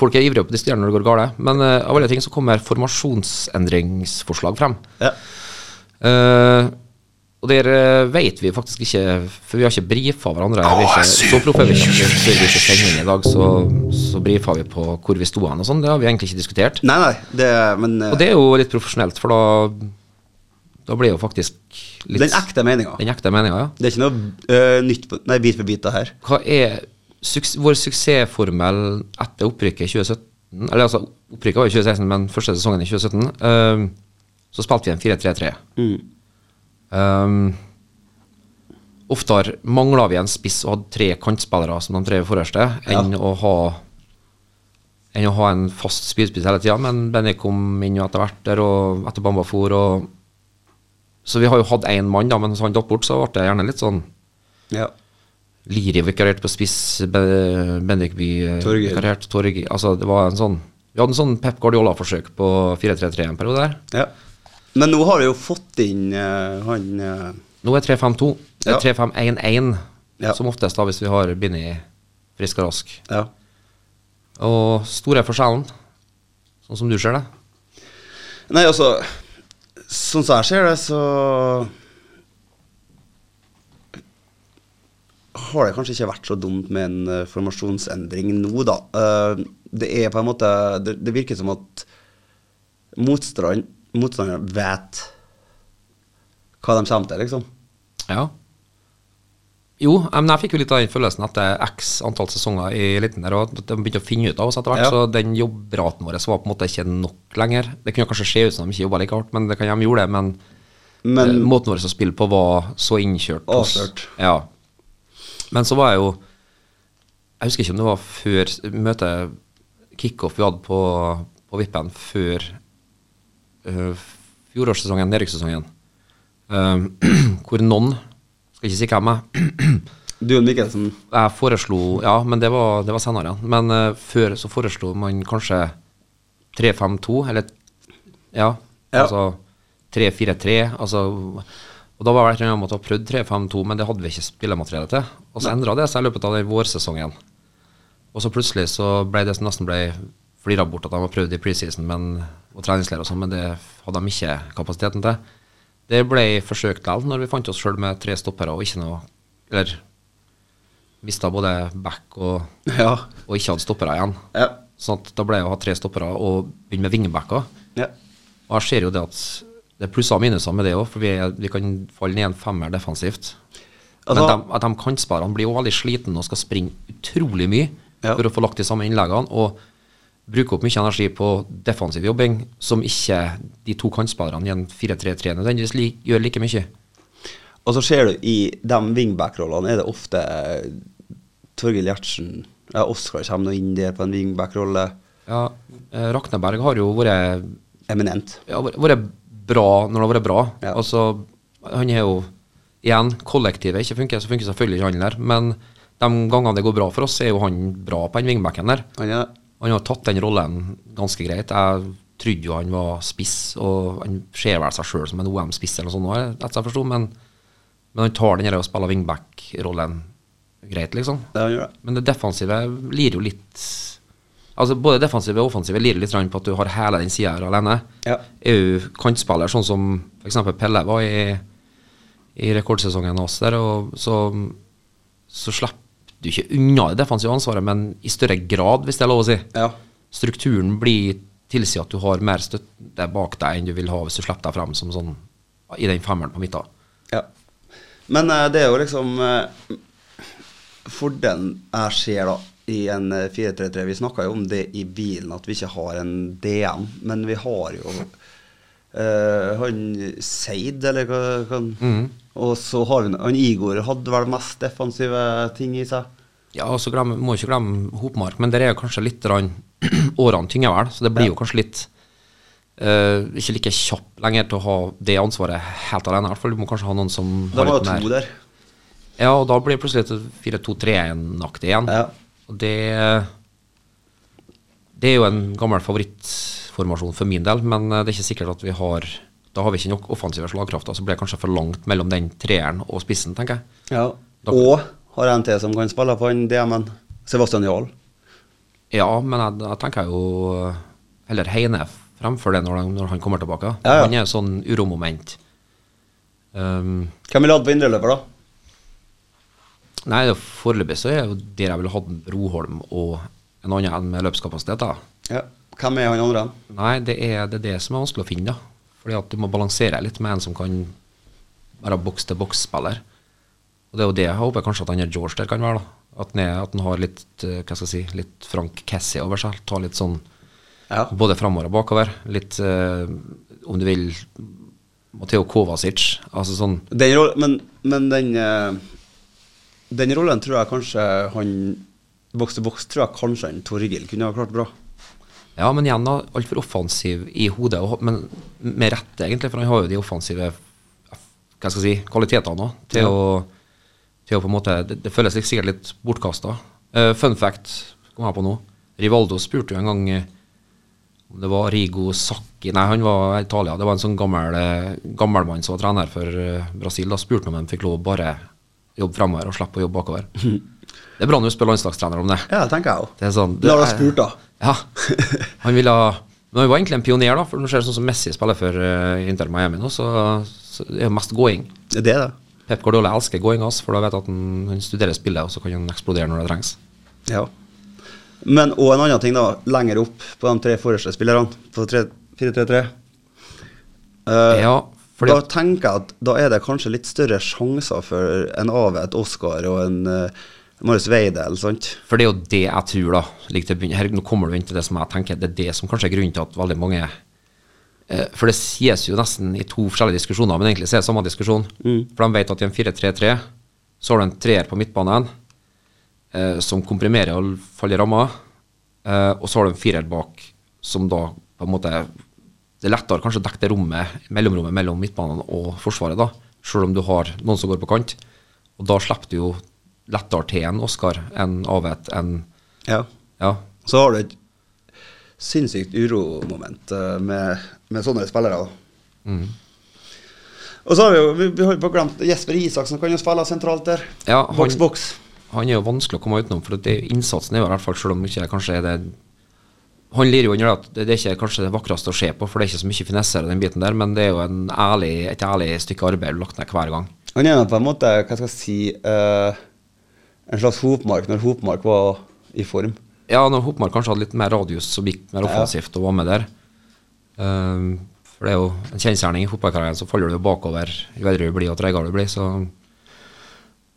Speaker 4: Folk er ivrige på de stjernene når det går galt. Men eh, av alle ting så kommer formasjonsendringsforslag frem.
Speaker 5: Ja.
Speaker 4: Eh, og der eh, vet vi faktisk ikke, for vi har ikke brifa hverandre. Vi er ikke, så proffe er vi ikke før vi ikke sender inn i dag, så, så brifa vi på hvor vi sto hen og sånn. Det har vi egentlig ikke diskutert.
Speaker 5: Nei, nei, det, men eh,
Speaker 4: Og det er jo litt profesjonelt, for da Da blir jo faktisk litt
Speaker 5: den ekte meninga.
Speaker 4: den ekte meninga, ja.
Speaker 5: Det er ikke noe eh, nytt på, Nei, bit for bit da her.
Speaker 4: Hva er suks vår suksessformel etter opprykket i 2017 Eller altså, opprykket var jo 2016, men første sesongen i 2017 eh, Så spilte vi en 4-3-3. Eh, oftere mangla vi en spiss og hadde tre kantspillere som de tre forreste, enn å ha enn å ha en fast spydspiss hele tida, men Benny kom inn jo etter hvert der, og etter Bamba for, og Så vi har jo hatt én mann, da, men hvis han datt bort, så ble det gjerne litt sånn
Speaker 5: Ja.
Speaker 4: Liri vikarierte på spiss, Be- Bendikby eh,
Speaker 5: Torgeir.
Speaker 4: vikarierte, Torgeir Altså, det var en sånn Vi hadde en sånn Pep Guardiola-forsøk på 4-3-3 en periode der.
Speaker 5: ja. Men nå har du jo fått inn eh, han eh,
Speaker 4: Nå er 3-5-2. Det
Speaker 5: Ja.
Speaker 4: er 3-5-1-1
Speaker 5: Ja.
Speaker 4: som oftest, da, hvis vi har Binni frisk og rask.
Speaker 5: Ja.
Speaker 4: Og store forskjellen, sånn som du ser det.
Speaker 5: Nei, altså Sånn som jeg ser det, så Har det kanskje ikke vært så dumt med en eh, formasjonsendring nå, da. Eh, det er på en måte Det, det virker som at motstand, motstanderen vet hva de kommer til, liksom.
Speaker 4: Ja. Jo, eh, men jeg fikk jo litt av den følelsen etter x antall sesonger i eliten der, og at de begynte å finne ut av oss etter hvert,
Speaker 5: Ja.
Speaker 4: så den jobbraten vår var på en måte ikke nok lenger. Det kunne kanskje se ut som de ikke jobba like hardt, men det kan de gjorde det, men,
Speaker 5: Men
Speaker 4: eh, måten vår å spille på var så innkjørt. hos-
Speaker 5: Avslørt.
Speaker 4: Ja. Men så var jeg jo Jeg husker ikke om det var før s- møtet kickoff vi hadde på, på Vippen før eh, fjorårssesongen, nedrykkssesongen, eh, [clears throat] hvor noen, skal ikke si hvem [clears throat] jeg
Speaker 5: du og Mikkelsen [laughs]
Speaker 4: jeg foreslo Ja, men det var, det var senere. ja. Men eh, før så foreslo man kanskje 3-5-2, eller ja,
Speaker 5: Ja.
Speaker 4: altså 3-4-3. Altså, og da var det et eller annet om at jeg prøvde 3-5-2, men det hadde vi ikke spillemateriale til. Og så endra det seg i løpet av den vårsesongen. Og så plutselig så ble det som nesten ble flira bort at de har prøvd i preseason men, og treningsleir og sånn, men det hadde de ikke kapasiteten til. Det ble forsøkt likevel når vi fant oss sjøl med tre stoppere og ikke noe Eller mista både back og,
Speaker 5: Ja.
Speaker 4: og ikke hadde stoppere igjen.
Speaker 5: Ja.
Speaker 4: Sånn at da ble jeg å ha tre stoppere og begynne med vingebacker.
Speaker 5: ja.
Speaker 4: Og jeg ser jo det at det er plusser og minuser med det òg, for vi, er, vi kan falle ned en femmer defensivt.
Speaker 5: Altså-
Speaker 4: Men de, at de kantspillerne blir jo veldig slitne og skal springe utrolig mye
Speaker 5: Ja.
Speaker 4: for å få lagt de samme innleggene, og bruke opp mye energi på defensiv jobbing, som ikke de to kantspillerne i en 4-3-3 nødvendigvis li, gjør like mye.
Speaker 5: Og så ser du i de wingback-rollene er det ofte eh, Torgill Gjertsen ja, Oskar kommer nå inn der på en wingback-rolle.
Speaker 4: Ja, eh, Rakneberg har jo vært
Speaker 5: Eminent.
Speaker 4: ja, vært- vært bra når det har vært bra.
Speaker 5: Ja.
Speaker 4: Altså, han er jo Igjen, kollektivet ikke funker, så funker selvfølgelig ikke han der. Men de gangene det går bra for oss, er jo han bra på den vingbacken der.
Speaker 5: Han er
Speaker 4: Han har tatt den rollen ganske greit. Jeg trodde jo han var spiss, og han ser vel seg sjøl som en OM-spiss eller noe sånt, nå, etter jeg forsto, men, men han tar den der og spiller wingback-rollen greit, liksom.
Speaker 5: Ja, han gjør det.
Speaker 4: Men det defensive lir jo litt Altså Både defensive og offensive lir litt grann på at du har hele den sida her alene.
Speaker 5: Ja.
Speaker 4: Er jo kantspiller, sånn som f.eks. Pelle var i, i rekordsesongen hos der, og så, så slipper du ikke unna det defensive ansvaret, men i større grad, hvis det er lov å si.
Speaker 5: Ja.
Speaker 4: Strukturen blir tilsier at du har mer støtte bak deg enn du vil ha hvis du slipper deg frem som sånn i den femmeren på midten.
Speaker 5: Ja. Men eh, det er jo liksom eh, Fordelen jeg ser da i en eh, 433 Vi snakka jo om det i bilen, at vi ikke har en DM, men vi har jo eh, han Seid, eller hva hva han Og så har vi han Igor hadde vel mest defensive ting i seg.
Speaker 4: Ja, og så glem, må ikke glemme Hopmark, men der er jo kanskje litt grann, [clears throat] årene tynger vel, så det blir jo kanskje litt eh, ikke like kjapp lenger til å ha det ansvaret helt alene. I hvert fall du må kanskje ha noen som
Speaker 5: Da var
Speaker 4: litt
Speaker 5: det
Speaker 4: mer-
Speaker 5: to der.
Speaker 4: Ja, og da blir det plutselig et 4-2-3-1-aktig igjen.
Speaker 5: Ja.
Speaker 4: Og det Det er jo en gammel favorittformasjon for min del, men eh, det er ikke sikkert at vi har Da har vi ikke nok offensive slagkrafter, så blir det kanskje for langt mellom den treeren og spissen, tenker jeg.
Speaker 5: Ja. Og har en til som kan spille på han DM-en. Sebastian Jarl.
Speaker 4: Ja, men jeg, jeg tenker jo heller Heine fremfor det når, han- når han kommer tilbake.
Speaker 5: Ja, ja.
Speaker 4: Han er et sånn uromoment. Um,
Speaker 5: Hvem vil ha hatt på indreløper, da?
Speaker 4: nei, det er foreløpig så er jo der jeg ville hatt Broholm og en annen enn med løpskapasitet. da.
Speaker 5: Ja. Hvem er han andre?
Speaker 4: Nei, det er, det er det som er vanskelig å finne. da. Fordi at du må balansere litt med en som kan være boks-til-boks-spiller. Og det er jo det jeg håper kanskje at han er George der kan være. da. At han, er, at han har litt eh, hva skal jeg si, litt Frank Cassie over seg. Tar litt sånn
Speaker 5: Ja.
Speaker 4: både framover og bakover. Litt, eh, om du vil, Mateo Kovacic. Altså sånn
Speaker 5: Den roll- men, men den eh, Den rollen tror jeg kanskje han Boks til boks tror jeg kanskje han Torgil kunne ha klart bra.
Speaker 4: Ja, men igjen da, altfor offensiv i hodet, og, men med rette egentlig, for han har jo de offensive hva skal jeg si, kvalitetene òg, til, å, til å på en måte Det, det føles litt- sikkert litt bortkasta. Eh, fun fact kom jeg på nå. Rivaldo spurte jo en gang eh, om det var Rigo Sacchi Nei, han var i Italia. Det var en sånn gammel eh, gammelmann som var trener for eh, Brasil. Da spurte han om han fikk lov å bare jobbe fremover og slippe å jobbe bakover. Det er bra når du spør landslagstrener om det.
Speaker 5: Ja, det tenker jeg òg.
Speaker 4: Det er sånn
Speaker 5: La oss
Speaker 4: er-
Speaker 5: spurt, da.
Speaker 4: Ja. Han ville ha Men han var egentlig en pioner, da. For når du ser sånn som Messi spiller for eh, Inter Miami nå, så, så det er jo mest gåing.
Speaker 5: Det er det, det.
Speaker 4: Pep Guardiola elsker gåing, ass, for da vet jeg at han, han studerer spillet, og så kan han eksplodere når det trengs.
Speaker 5: Ja. Men og en annen ting, da. Lenger opp på de tre forreste spillerne, på 4-3-3 Eh,
Speaker 4: Ja, fordi
Speaker 5: Da
Speaker 4: at-
Speaker 5: tenker jeg at da er det kanskje litt større sjanser for en Ave, et Oscar og en uh, Marius Weidel, sant?
Speaker 4: For det er jo det jeg tror, da. Like til å begynne- her, nå kommer du inn til det som jeg tenker Det er det som kanskje er grunnen til at veldig mange eh, For det sies jo nesten i to forskjellige diskusjoner, men egentlig så er det samme diskusjon.
Speaker 5: Mm.
Speaker 4: For de vet at i en 4-3-3 så har du en treer på midtbanen eh, som komprimerer og faller i ramma, eh, og så har du en firer bak som da på en måte Det er lettere kanskje å dekke det rommet, mellomrommet mellom midtbanen og Forsvaret, da, selv om du har noen som går på kant. Og da slipper du jo lettere til en Oscar, en Avet, en
Speaker 5: Ja.
Speaker 4: Ja.
Speaker 5: Så har du et sinnssykt uromoment eh, med, med sånne spillere. da.
Speaker 4: Mm.
Speaker 5: Og så har vi jo vi, vi har jo bare glemt Jesper Isaksen kan jo spille sentralt der.
Speaker 4: Ja, han-
Speaker 5: boks, boks.
Speaker 4: Han er jo vanskelig å komme utenom, for det, innsatsen er jo i hvert fall, selv om ikke det kanskje er det Han lir jo under at det, det er ikke kanskje det vakreste å se på, for det er ikke så mye finesser i den biten der, men det er jo en ærlig, et ærlig stykke arbeid lagt ned hver gang.
Speaker 5: Han er jo på en måte hva skal jeg si, eh, en slags Hopmark når Hopmark var i form.
Speaker 4: Ja, når Hopmark kanskje hadde litt mer radius, som gikk mer offensivt og var med der. Ehm, for det er jo en kjensgjerning i fotballkarrieren, så faller du jo bakover jo eldre du blir og tregere du blir. så...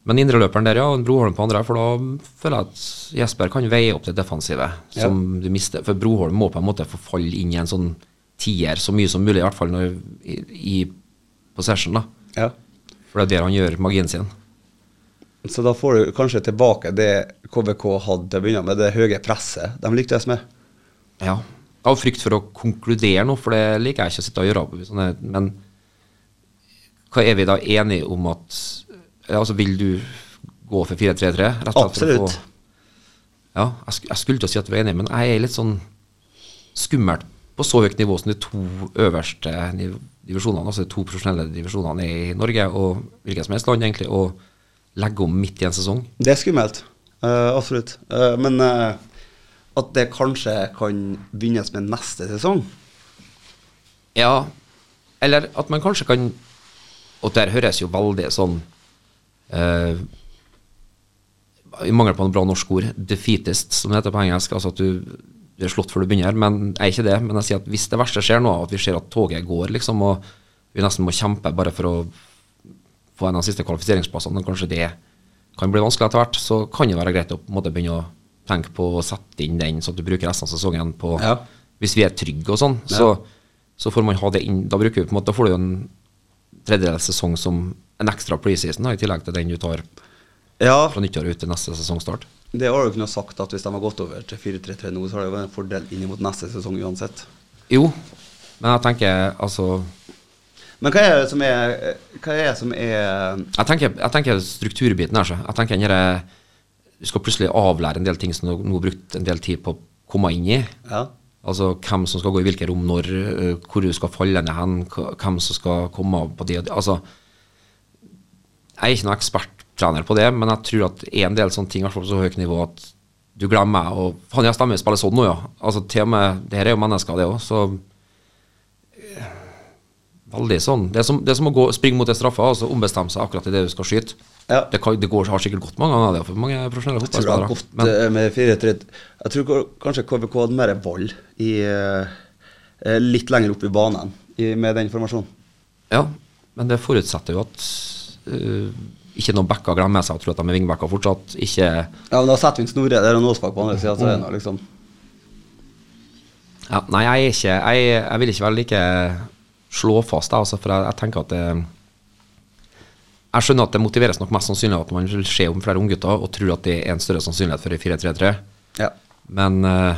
Speaker 4: Men indreløperen der, ja, og en Broholm på andre, for da føler jeg at Jesper kan veie opp det defensive som du mister. For Broholm må på en måte få falle inn i en sånn tier så mye som mulig, i hvert fall når, i, i possession, da.
Speaker 5: Ja.
Speaker 4: For det er der han gjør magien sin.
Speaker 5: Så da får du kanskje tilbake det KBK hadde til å begynne med, det høye presset de lyktes med.
Speaker 4: Ja. Av frykt for å konkludere noe, for det liker jeg ikke å sitte og gjøre. på Sånne, men hva er vi da enige om at ja, altså Vil du gå for 4-3-3? rett og slett for å
Speaker 5: Absolutt.
Speaker 4: få- Ja, jeg, sk jeg skulle til å si at vi er enige, men jeg er litt sånn skummelt på så høyt nivå som de to øverste niv- divisjonene, altså de to profesjonelle divisjonene i Norge og hvilket som helst land, egentlig, og legge om midt i en sesong.
Speaker 5: Det er skummelt. eh, absolutt. Eh, men eh, at det kanskje kan begynnes med neste sesong
Speaker 4: Ja, eller at man kanskje kan Og der høres jo veldig sånn eh, I mangel på en bra norsk ord, defeatist, som det heter på engelsk. Altså at du, du er slått før du begynner. Men jeg er ikke det. Men jeg sier at hvis det verste skjer nå, at vi ser at toget går, liksom, og vi nesten må kjempe bare for å få en av de siste kvalifiseringsplassene, og kanskje det kan bli vanskelig etter hvert, så kan det være greit å på en måte begynne å tenke på å sette inn den, sånn at du bruker resten av sesongen på
Speaker 5: Ja.
Speaker 4: Hvis vi er trygge og sånn, så, så får man ha det inn. Da bruker vi på en måte, da får du jo en tredjedels sesong som en ekstra preseason, da, i tillegg til den du tar
Speaker 5: Ja,
Speaker 4: fra nyttår ut til neste sesongstart.
Speaker 5: det har du kunnet sagt at hvis de har gått over til 4-3-3 nå, så har det vært en fordel inn mot neste sesong uansett.
Speaker 4: Jo, men jeg tenker altså
Speaker 5: Men hva er det som er, hva er, det som er
Speaker 4: Jeg tenker, jeg tenker strukturbiten her. Så. Jeg tenker den her, Du skal plutselig avlære en del ting som du nå har brukt en del tid på å komme inn i.
Speaker 5: Ja.
Speaker 4: Altså hvem som skal gå i hvilke rom når, øh, hvor du skal falle ned hen, hva- hvem som skal komme av på det og det. Altså, jeg er ikke noen eksperttrener på det, men jeg tror at en del sånne ting, i hvert fall på så høyt nivå, at du glemmer og Faen, jeg stemmer, spiller sånn nå, ja. Altså, til og med Det her er jo mennesker, det òg, så eh, Veldig sånn. Det er som, det er som å gå, springe mot ei straffe og så ombestemme seg akkurat i det du skal skyte.
Speaker 5: Ja.
Speaker 4: Det, kan, det går, har sikkert gått mange ganger, det er for mange profesjonelle
Speaker 5: Jeg tror det har gått
Speaker 4: fotballspillere. Men
Speaker 5: eh, med 4-3 Jeg tror ko- kanskje KBK hadde mer ball i, eh, eh, litt lenger opp i banen i, med den formasjonen.
Speaker 4: Ja, men det forutsetter jo at øh, ikke noen backer glemmer seg og tror at de er vingbacker fortsatt. Ikke
Speaker 5: Ja, men Da setter vi inn Snorre der og Nåsbakk på andre sida. Så er det noe, liksom.
Speaker 4: ja, Nei, jeg er ikke jeg, jeg vil ikke være like slå fast, jeg, altså, for jeg, jeg tenker at det Jeg skjønner at det motiveres nok mest sannsynlig av at man vil se om flere unggutter og tror at det er en større sannsynlighet for en 4-3-3,
Speaker 5: ja.
Speaker 4: men øh,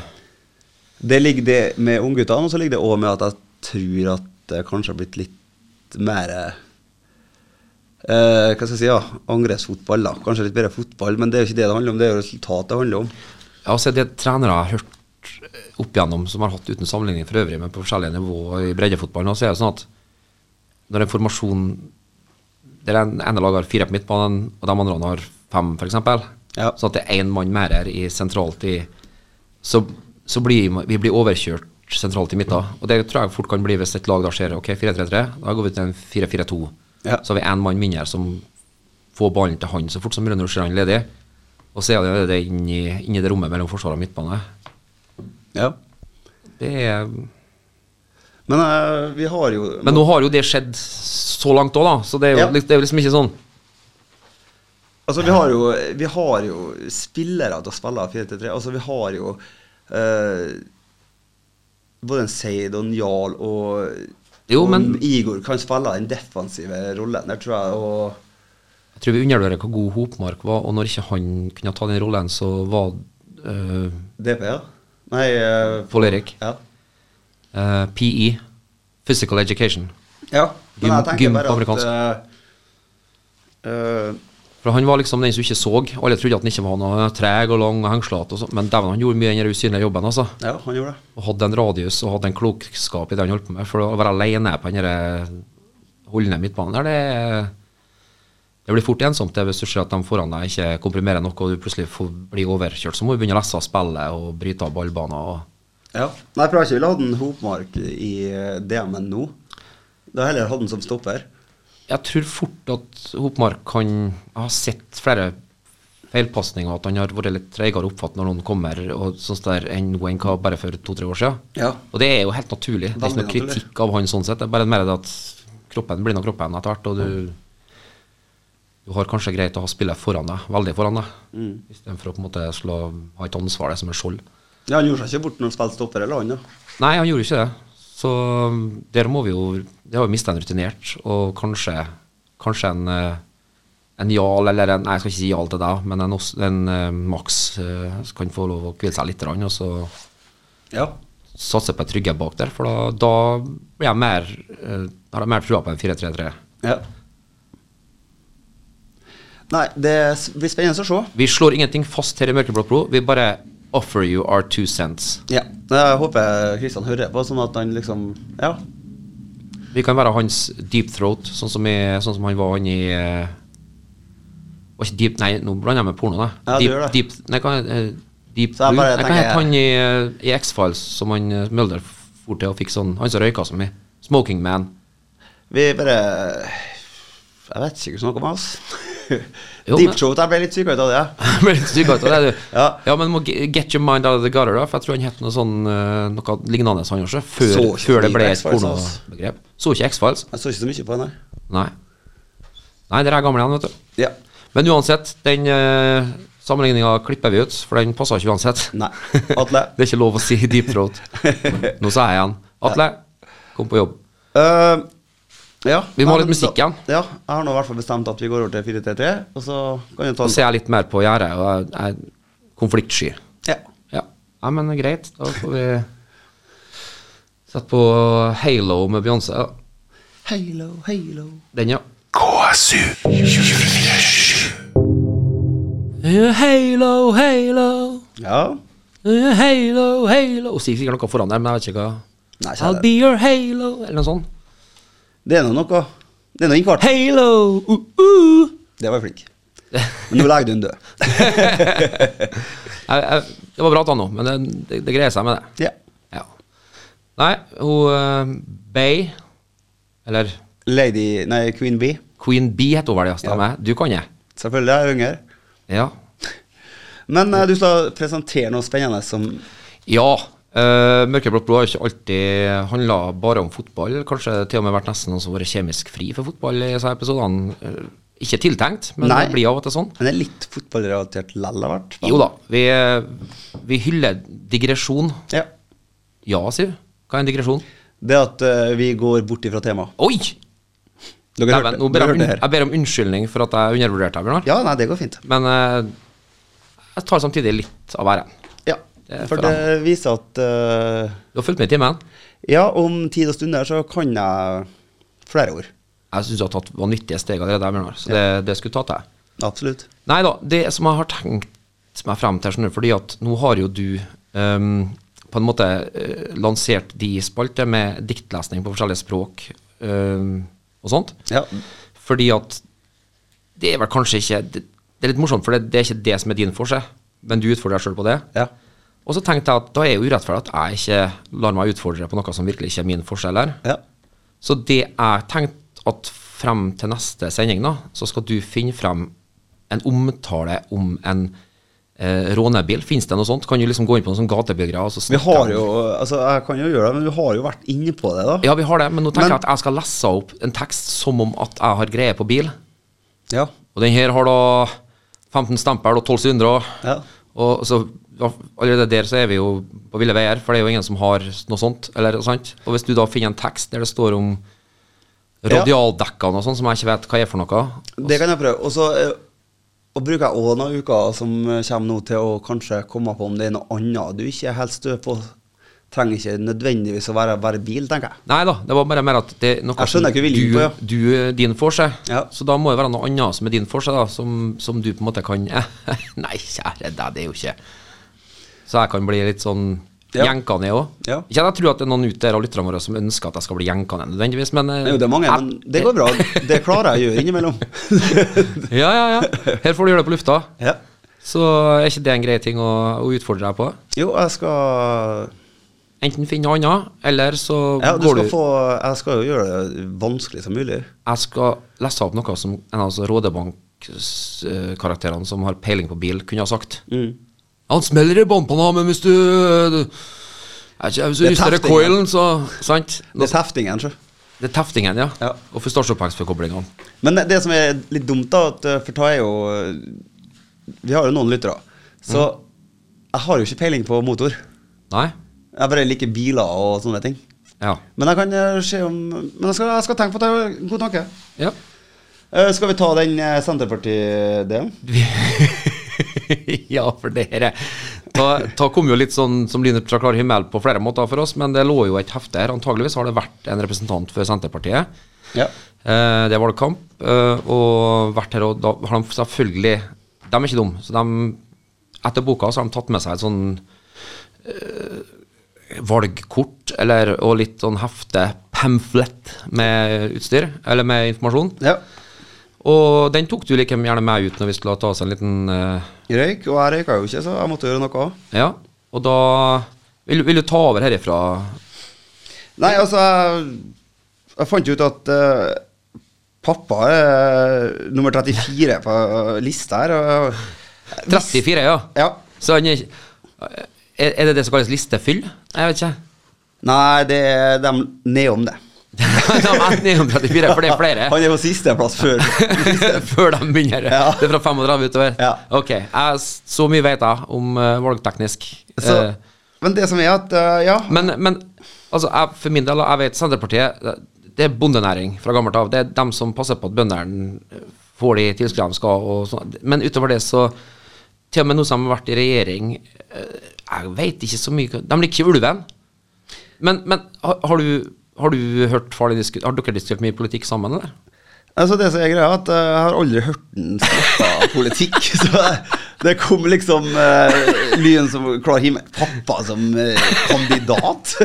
Speaker 5: Det ligger det med ungguttene, og så ligger det òg med at jeg tror at det kanskje har blitt litt mer eh, Hva skal jeg si, ja, angrepsfotball. da Kanskje litt bedre fotball, men det er jo ikke det det handler om, det er jo resultat det handler om.
Speaker 4: Ja, altså det trenere jeg har hørt eh, opp igjennom, som har hatt uten sammenligning for øvrig, men på forskjellige nivåer i breddefotballen, så er det sånn at når en formasjon der en ene lag har fire på midtbanen, og de andre har fem, f.eks.,
Speaker 5: Ja.
Speaker 4: sånn at det er én mann mer her i, sentralt i Så, så blir ma- vi blir overkjørt sentralt i midten.
Speaker 5: Mm.
Speaker 4: Og det tror jeg fort kan bli hvis et lag da ser ok, 4-3-3, da går vi til en 4-4-2.
Speaker 5: Ja.
Speaker 4: Så har vi én mann mindre som få ballen til han så fort som Rønner ser han ledig. Og så er det det inn i, inn i det rommet mellom forsvar og midtbane.
Speaker 5: Ja.
Speaker 4: Det er,
Speaker 5: Men eh, vi har jo
Speaker 4: men nå har jo det skjedd så langt òg, da. Så det er, jo,
Speaker 5: Ja.
Speaker 4: litt- det er jo liksom ikke sånn
Speaker 5: Altså, vi har jo, vi har jo spillere til å spille 4-3-3. Altså, vi har jo eh, både en Seid og en Jarl og
Speaker 4: Jo,
Speaker 5: og
Speaker 4: men-
Speaker 5: Igor kan spille den defensive rollen der, tror jeg. Og
Speaker 4: Jeg tror vi undervurderer hvor god Hopmark var, og når ikke han kunne ta den rollen, så var øh,
Speaker 5: DP, ja. Nei eh,
Speaker 4: Pål Erik
Speaker 5: Ja.
Speaker 4: øh, PE, Physical Education.
Speaker 5: ja. Men jeg
Speaker 4: Gym-
Speaker 5: tenker bare
Speaker 4: amerikansk.
Speaker 5: at eh, eh,
Speaker 4: For han var liksom den som ikke så. Alle trodde at han ikke var noe han var treg og lang og hengslete, og sånt, men dæven, han gjorde mye i den der usynlige jobben, altså.
Speaker 5: Ja, han gjorde det.
Speaker 4: og hadde en radius og hadde en klokskap i det han holdt på med. For å være alene på den der eh, holdende midtbanen der, det, er- det blir fort ensomt det hvis du ser at de foran deg ikke komprimerer noe, og du plutselig får, blir overkjørt. Så må du begynne å lese av spillet og bryte av ballbaner. Og
Speaker 5: Ja. Nei, for jeg har ikke villet ha den Hopmark i eh, DM-en nå. Da har jeg heller hatt den som stopper.
Speaker 4: jeg tror fort at Hopmark kan ha sett flere feilpasninger, at han har vært litt treigere oppfatt når noen kommer, og sånn der enn Wayne Cobb bare for to-tre år siden.
Speaker 5: Ja.
Speaker 4: Og det er jo helt naturlig. Det er ikke
Speaker 5: Veldig
Speaker 4: noe
Speaker 5: naturlig.
Speaker 4: kritikk av han sånn sett. Det er bare mer det at kroppen blir nå kroppen etter hvert, og du, du har kanskje greit å ha spillet foran deg, veldig foran deg,
Speaker 5: Mm.
Speaker 4: istedenfor å på en måte slå, ha et ansvar der som en skjold.
Speaker 5: Ja, Han gjorde seg ikke bort når han spilte stopper eller han, da.
Speaker 4: Nei, han gjorde ikke det. Så um, der må vi jo Det har jo mista en rutinert, og kanskje, kanskje en eh, en Jarl eller en Nei, jeg skal ikke si Jarl til deg, men en, Os- en eh, Max eh, kan få lov å hvile seg litt, og så
Speaker 5: Ja.
Speaker 4: satse på et trygge bak der, for da, da blir jeg mer, eh, har jeg mer trua på en 4-3-3.
Speaker 5: Ja. Nei, det s- blir spennende å se.
Speaker 4: Vi slår ingenting fast her i Mørkeblått blod, vi bare offer you our two cents.
Speaker 5: Ja. Jeg håper Kristian hører på, sånn at han liksom Ja.
Speaker 4: Vi kan være hans deep throat, sånn som, i, sånn som han var han i eh, Var ikke deep Nei, nå blander jeg med porno, da.
Speaker 5: Ja, du
Speaker 4: deep,
Speaker 5: gjør det.
Speaker 4: deep, nei, kan, eh, deep
Speaker 5: Så jeg
Speaker 4: blue.
Speaker 5: bare
Speaker 4: Jeg kan
Speaker 5: tenker-
Speaker 4: hete han i, eh, i X-Files, som han eh, Mulder for til og fikk sånn Han som røyka så mye. Smoking Man. [laughs]
Speaker 5: Vi bare Jeg vet ikke hvordan noe med oss.
Speaker 4: Jo,
Speaker 5: Deep
Speaker 4: men-
Speaker 5: Throat, Jeg ble litt syk ut av det.
Speaker 4: Jeg ble litt stygg av det, du. Ja.
Speaker 5: Ja.
Speaker 4: men må ge- get your mind out of the gutter, da. For jeg tror han het noe sånn eh, Noe lignende han gjorde, før,
Speaker 5: Så ikke mye
Speaker 4: før det ble
Speaker 5: på
Speaker 4: et
Speaker 5: X-Files, ass.
Speaker 4: pornobegrep. Så ikke X-Files?
Speaker 5: Jeg så ikke så mye på den her.
Speaker 4: Nei. Nei, det er gamle igjen, vet du.
Speaker 5: Ja.
Speaker 4: Men uansett, den uh, sammenligninga klipper vi ut, for den passer ikke uansett.
Speaker 5: Nei. Atle.
Speaker 4: [laughs] det er ikke lov å si deep throat. Nå sa jeg igjen. Atle, kom på jobb.
Speaker 5: Eh, ja.
Speaker 4: Vi må ha
Speaker 5: Nei,
Speaker 4: litt
Speaker 5: men så-
Speaker 4: musikk igjen.
Speaker 5: Ja. Jeg har nå i hvert fall bestemt at vi går over til 433, og så kan vi ta
Speaker 4: Så ser jeg litt mer på gjerdet, og jeg jeg er konfliktsky.
Speaker 5: Ja.
Speaker 4: Ja. Nei, men greit. Da får vi sette på Halo med Beyoncé. da.
Speaker 5: Halo, halo.
Speaker 4: Den, ja.
Speaker 3: KSU 247.
Speaker 4: Eh, Halo, halo. Eh,
Speaker 5: Ja.
Speaker 4: Halo, halo. Hun sier sikkert noe foran der, men jeg vet ikke hva.
Speaker 5: Nei, ikke
Speaker 4: I'll
Speaker 5: heller.
Speaker 4: be your halo, eller noe sånt.
Speaker 5: Det er nå noe. Det er nå innkvart.
Speaker 4: Halo, uh, uh.
Speaker 5: Det var jeg flink.
Speaker 4: Det
Speaker 5: Men nå legger du den død.
Speaker 4: Jeg, jeg, det var bra at han nå, men det, det, det greier seg med det.
Speaker 5: Ja.
Speaker 4: [laughs] Ja. Nei, hun eh, Bay, eller
Speaker 5: Lady Nei, Queen Bee.
Speaker 4: Queen Bee heter hun vel, ja. Stemmer. Du kan det.
Speaker 5: Selvfølgelig er jeg yngre.
Speaker 4: Ja.
Speaker 5: Men eh, du skal presentere noe spennende som
Speaker 4: ja. eh, Mørkeblått blod har ikke alltid handla bare om fotball. Kanskje til og med vært nesten noen som har vært kjemisk fri for fotball i disse episodene. Eh, Ikke tiltenkt, men
Speaker 5: Nei.
Speaker 4: det blir av og til sånn.
Speaker 5: Men det er litt fotballrelatert lell, har vært.
Speaker 4: Jo da, vi, eh, vi hyller digresjon.
Speaker 5: Ja.
Speaker 4: Ja, sier vi. Hva er en digresjon?
Speaker 5: Det at eh, vi går bort ifra temaet.
Speaker 4: Oi!
Speaker 5: Dere
Speaker 4: Nei,
Speaker 5: hørte-
Speaker 4: vent, nå ber
Speaker 5: dere
Speaker 4: jeg,
Speaker 5: hørte
Speaker 4: om-
Speaker 5: det her.
Speaker 4: jeg ber om unnskyldning for at jeg undervurderte deg, Bjørnar.
Speaker 5: Ja, nei, det går fint.
Speaker 4: Men eh, jeg tar samtidig litt av æren.
Speaker 5: Ja,
Speaker 4: Det er
Speaker 5: for
Speaker 4: for
Speaker 5: det viser at eh,
Speaker 4: Du har fulgt med i timen.
Speaker 5: Ja, om tid og stunder så kan jeg flere ord.
Speaker 4: Jeg syns du har tatt vanvittige steg allerede, Bjørnar. Så det, det skulle ta til.
Speaker 5: Absolutt.
Speaker 4: Nei da, det som jeg har tenkt meg frem til, skjønner du, fordi at nå har jo du ehm, på en måte eh, lansert de spalter med diktlesning på forskjellige språk ehm, og sånt.
Speaker 5: Ja.
Speaker 4: Fordi at det er vel kanskje ikke Det, det er litt morsomt, for det, det er ikke det som er din forse, men du utfordrer deg sjøl på det.
Speaker 5: Ja.
Speaker 4: Og så tenkte jeg at da er jeg jo urettferdig at jeg ikke lar meg utfordre på noe som virkelig ikke er min forse heller.
Speaker 5: ja.
Speaker 4: Så det jeg tenkte at frem til neste sending, da, så skal du finne frem en omtale om en eh, rånebil. Fins det noe sånt? Kan du liksom gå inn på noen sånn gatebyggere og så
Speaker 5: Vi
Speaker 4: snakke om-
Speaker 5: har jo Altså, jeg kan jo gjøre det, men vi har jo vært inne på det, da.
Speaker 4: Ja, vi har det, men nå tenker
Speaker 5: Men-
Speaker 4: jeg at jeg skal lese opp en tekst som om at jeg har greie på bil.
Speaker 5: Ja.
Speaker 4: Og den her har da 15 stempel og 12 sylindere.
Speaker 5: Ja.
Speaker 4: Og så ja, Allerede der så er vi jo på ville veier, for det er jo ingen som har noe sånt. Eller, sant? Og hvis du da finner en tekst der det står om
Speaker 5: Ja.
Speaker 4: radialdekkene og sånn, som jeg ikke vet hva er for noe
Speaker 5: Det kan jeg prøve. Og så eh, og bruker jeg òg noen uker som eh, kommer nå til å kanskje komme på om det er noe annet du ikke er helt stø på. Trenger ikke nødvendigvis å være, være bil, tenker jeg.
Speaker 4: Nei da, det var bare mer at det er noe
Speaker 5: Jeg skjønner ikke
Speaker 4: du,
Speaker 5: viljen på, ja.
Speaker 4: du, eh, din får seg.
Speaker 5: Ja.
Speaker 4: Så da må det være noe annet som er din for seg, da, som, som du på en måte kan [laughs] Nei, kjære deg, det er jo ikke Så jeg kan bli litt sånn
Speaker 5: Ja.
Speaker 4: jenka ned òg.
Speaker 5: Ja.
Speaker 4: Ikke at jeg tror at det er noen ute der av lytterne våre som ønsker at jeg skal bli jenka ned nødvendigvis, men eh,
Speaker 5: Jo, det er mange,
Speaker 4: jeg-
Speaker 5: men det går bra. Det klarer jeg å gjøre innimellom.
Speaker 4: [laughs] Ja, ja, ja. Her får du gjøre det på lufta.
Speaker 5: ja.
Speaker 4: Så er ikke det en grei ting å, å utfordre deg på.
Speaker 5: Jo, jeg skal
Speaker 4: Enten finn noe annet, eller så
Speaker 5: Ja, du
Speaker 4: går
Speaker 5: skal
Speaker 4: du
Speaker 5: få Jeg skal jo gjøre det vanskelig som mulig.
Speaker 4: Jeg skal lese opp noe som en av altså, Rådebank-karakterene som har peiling på bil, kunne ha sagt. Han smeller i båndpanna, men hvis du eh, Jeg vet ikke, Hvis du
Speaker 5: Det er
Speaker 4: rister i
Speaker 5: teftingen.
Speaker 4: coilen, så Sant?
Speaker 5: Det er teftingen, sjø.
Speaker 4: Det er teftingen, ja.
Speaker 5: Ja.
Speaker 4: Og fustasjepengsforkoblingene.
Speaker 5: Men det som er litt dumt, da, at, eh, for ta er jo eh, Vi har jo noen lyttere. Så jeg har jo ikke peiling på motor.
Speaker 4: Nei?
Speaker 5: Jeg bare liker biler og sånne ting.
Speaker 4: Ja.
Speaker 5: Men jeg kan eh, se om Men jeg skal, jeg skal tenke på det. en God tanke.
Speaker 4: ja.
Speaker 5: Eh, skal vi ta den eh, Senterparti-delen?
Speaker 4: [laughs] ja, for det her er da, da kom jo litt sånn som lynet fra klar himmel på flere måter for oss, men det lå jo et hefte her. Antageligvis har det vært en representant for Senterpartiet.
Speaker 5: Ja.
Speaker 4: Eh, det er valgkamp, eh, og vært her, og da har de selvfølgelig De er ikke dumme, så de Etter boka så har de tatt med seg et sånn eh, valgkort eller, og litt sånn hefte, pamflett, med utstyr, eller med informasjon.
Speaker 5: ja.
Speaker 4: Og den tok du like gjerne med ut når vi skulle ta oss en liten eh,
Speaker 5: Røyk, og jeg røyka jo ikke, så jeg måtte gjøre noe.
Speaker 4: Ja. Og da vil, vil du ta over herifra?
Speaker 5: Nei, altså Jeg, jeg fant ut at eh, pappa er nummer 34 på eh, lista her. Og, jeg-
Speaker 4: 34, ja.
Speaker 5: Ja.
Speaker 4: Så han er ikke Er er det det som kalles listefyll? Jeg vet ikke. [laughs]
Speaker 5: Nei, det er dem nedom det.
Speaker 4: De er 934, for det er flere.
Speaker 5: Han er på sisteplass
Speaker 4: [laughs]
Speaker 5: før.
Speaker 4: Før de begynner.
Speaker 5: Ja.
Speaker 4: Det er fra 35 utover.
Speaker 5: Ja.
Speaker 4: Ok. Jeg, så mye vet jeg om eh, valgteknisk.
Speaker 5: Så,
Speaker 4: Eh,
Speaker 5: men det som er at eh, Ja.
Speaker 4: men, men altså, jeg, for min del, jeg vet Senterpartiet det- Det er bondenæring fra gammelt av. Det er dem som passer på at bøndene eh, får de tilskuddene de skal. Og sånn. Men utover det, så Til og med nå som de har vært i regjering eh, Jeg vet ikke så mye De liker ikke ulven. Men, men har, har du har du hørt farlig disku- Har dere diskutert mye politikk sammen, eller?
Speaker 5: Altså det som er greia, er at eh, jeg har aldri hørt den snakke politikk. [laughs] Så jeg, Det kom liksom eh, Lyn som klar himmel. Pappa som eh, kandidat.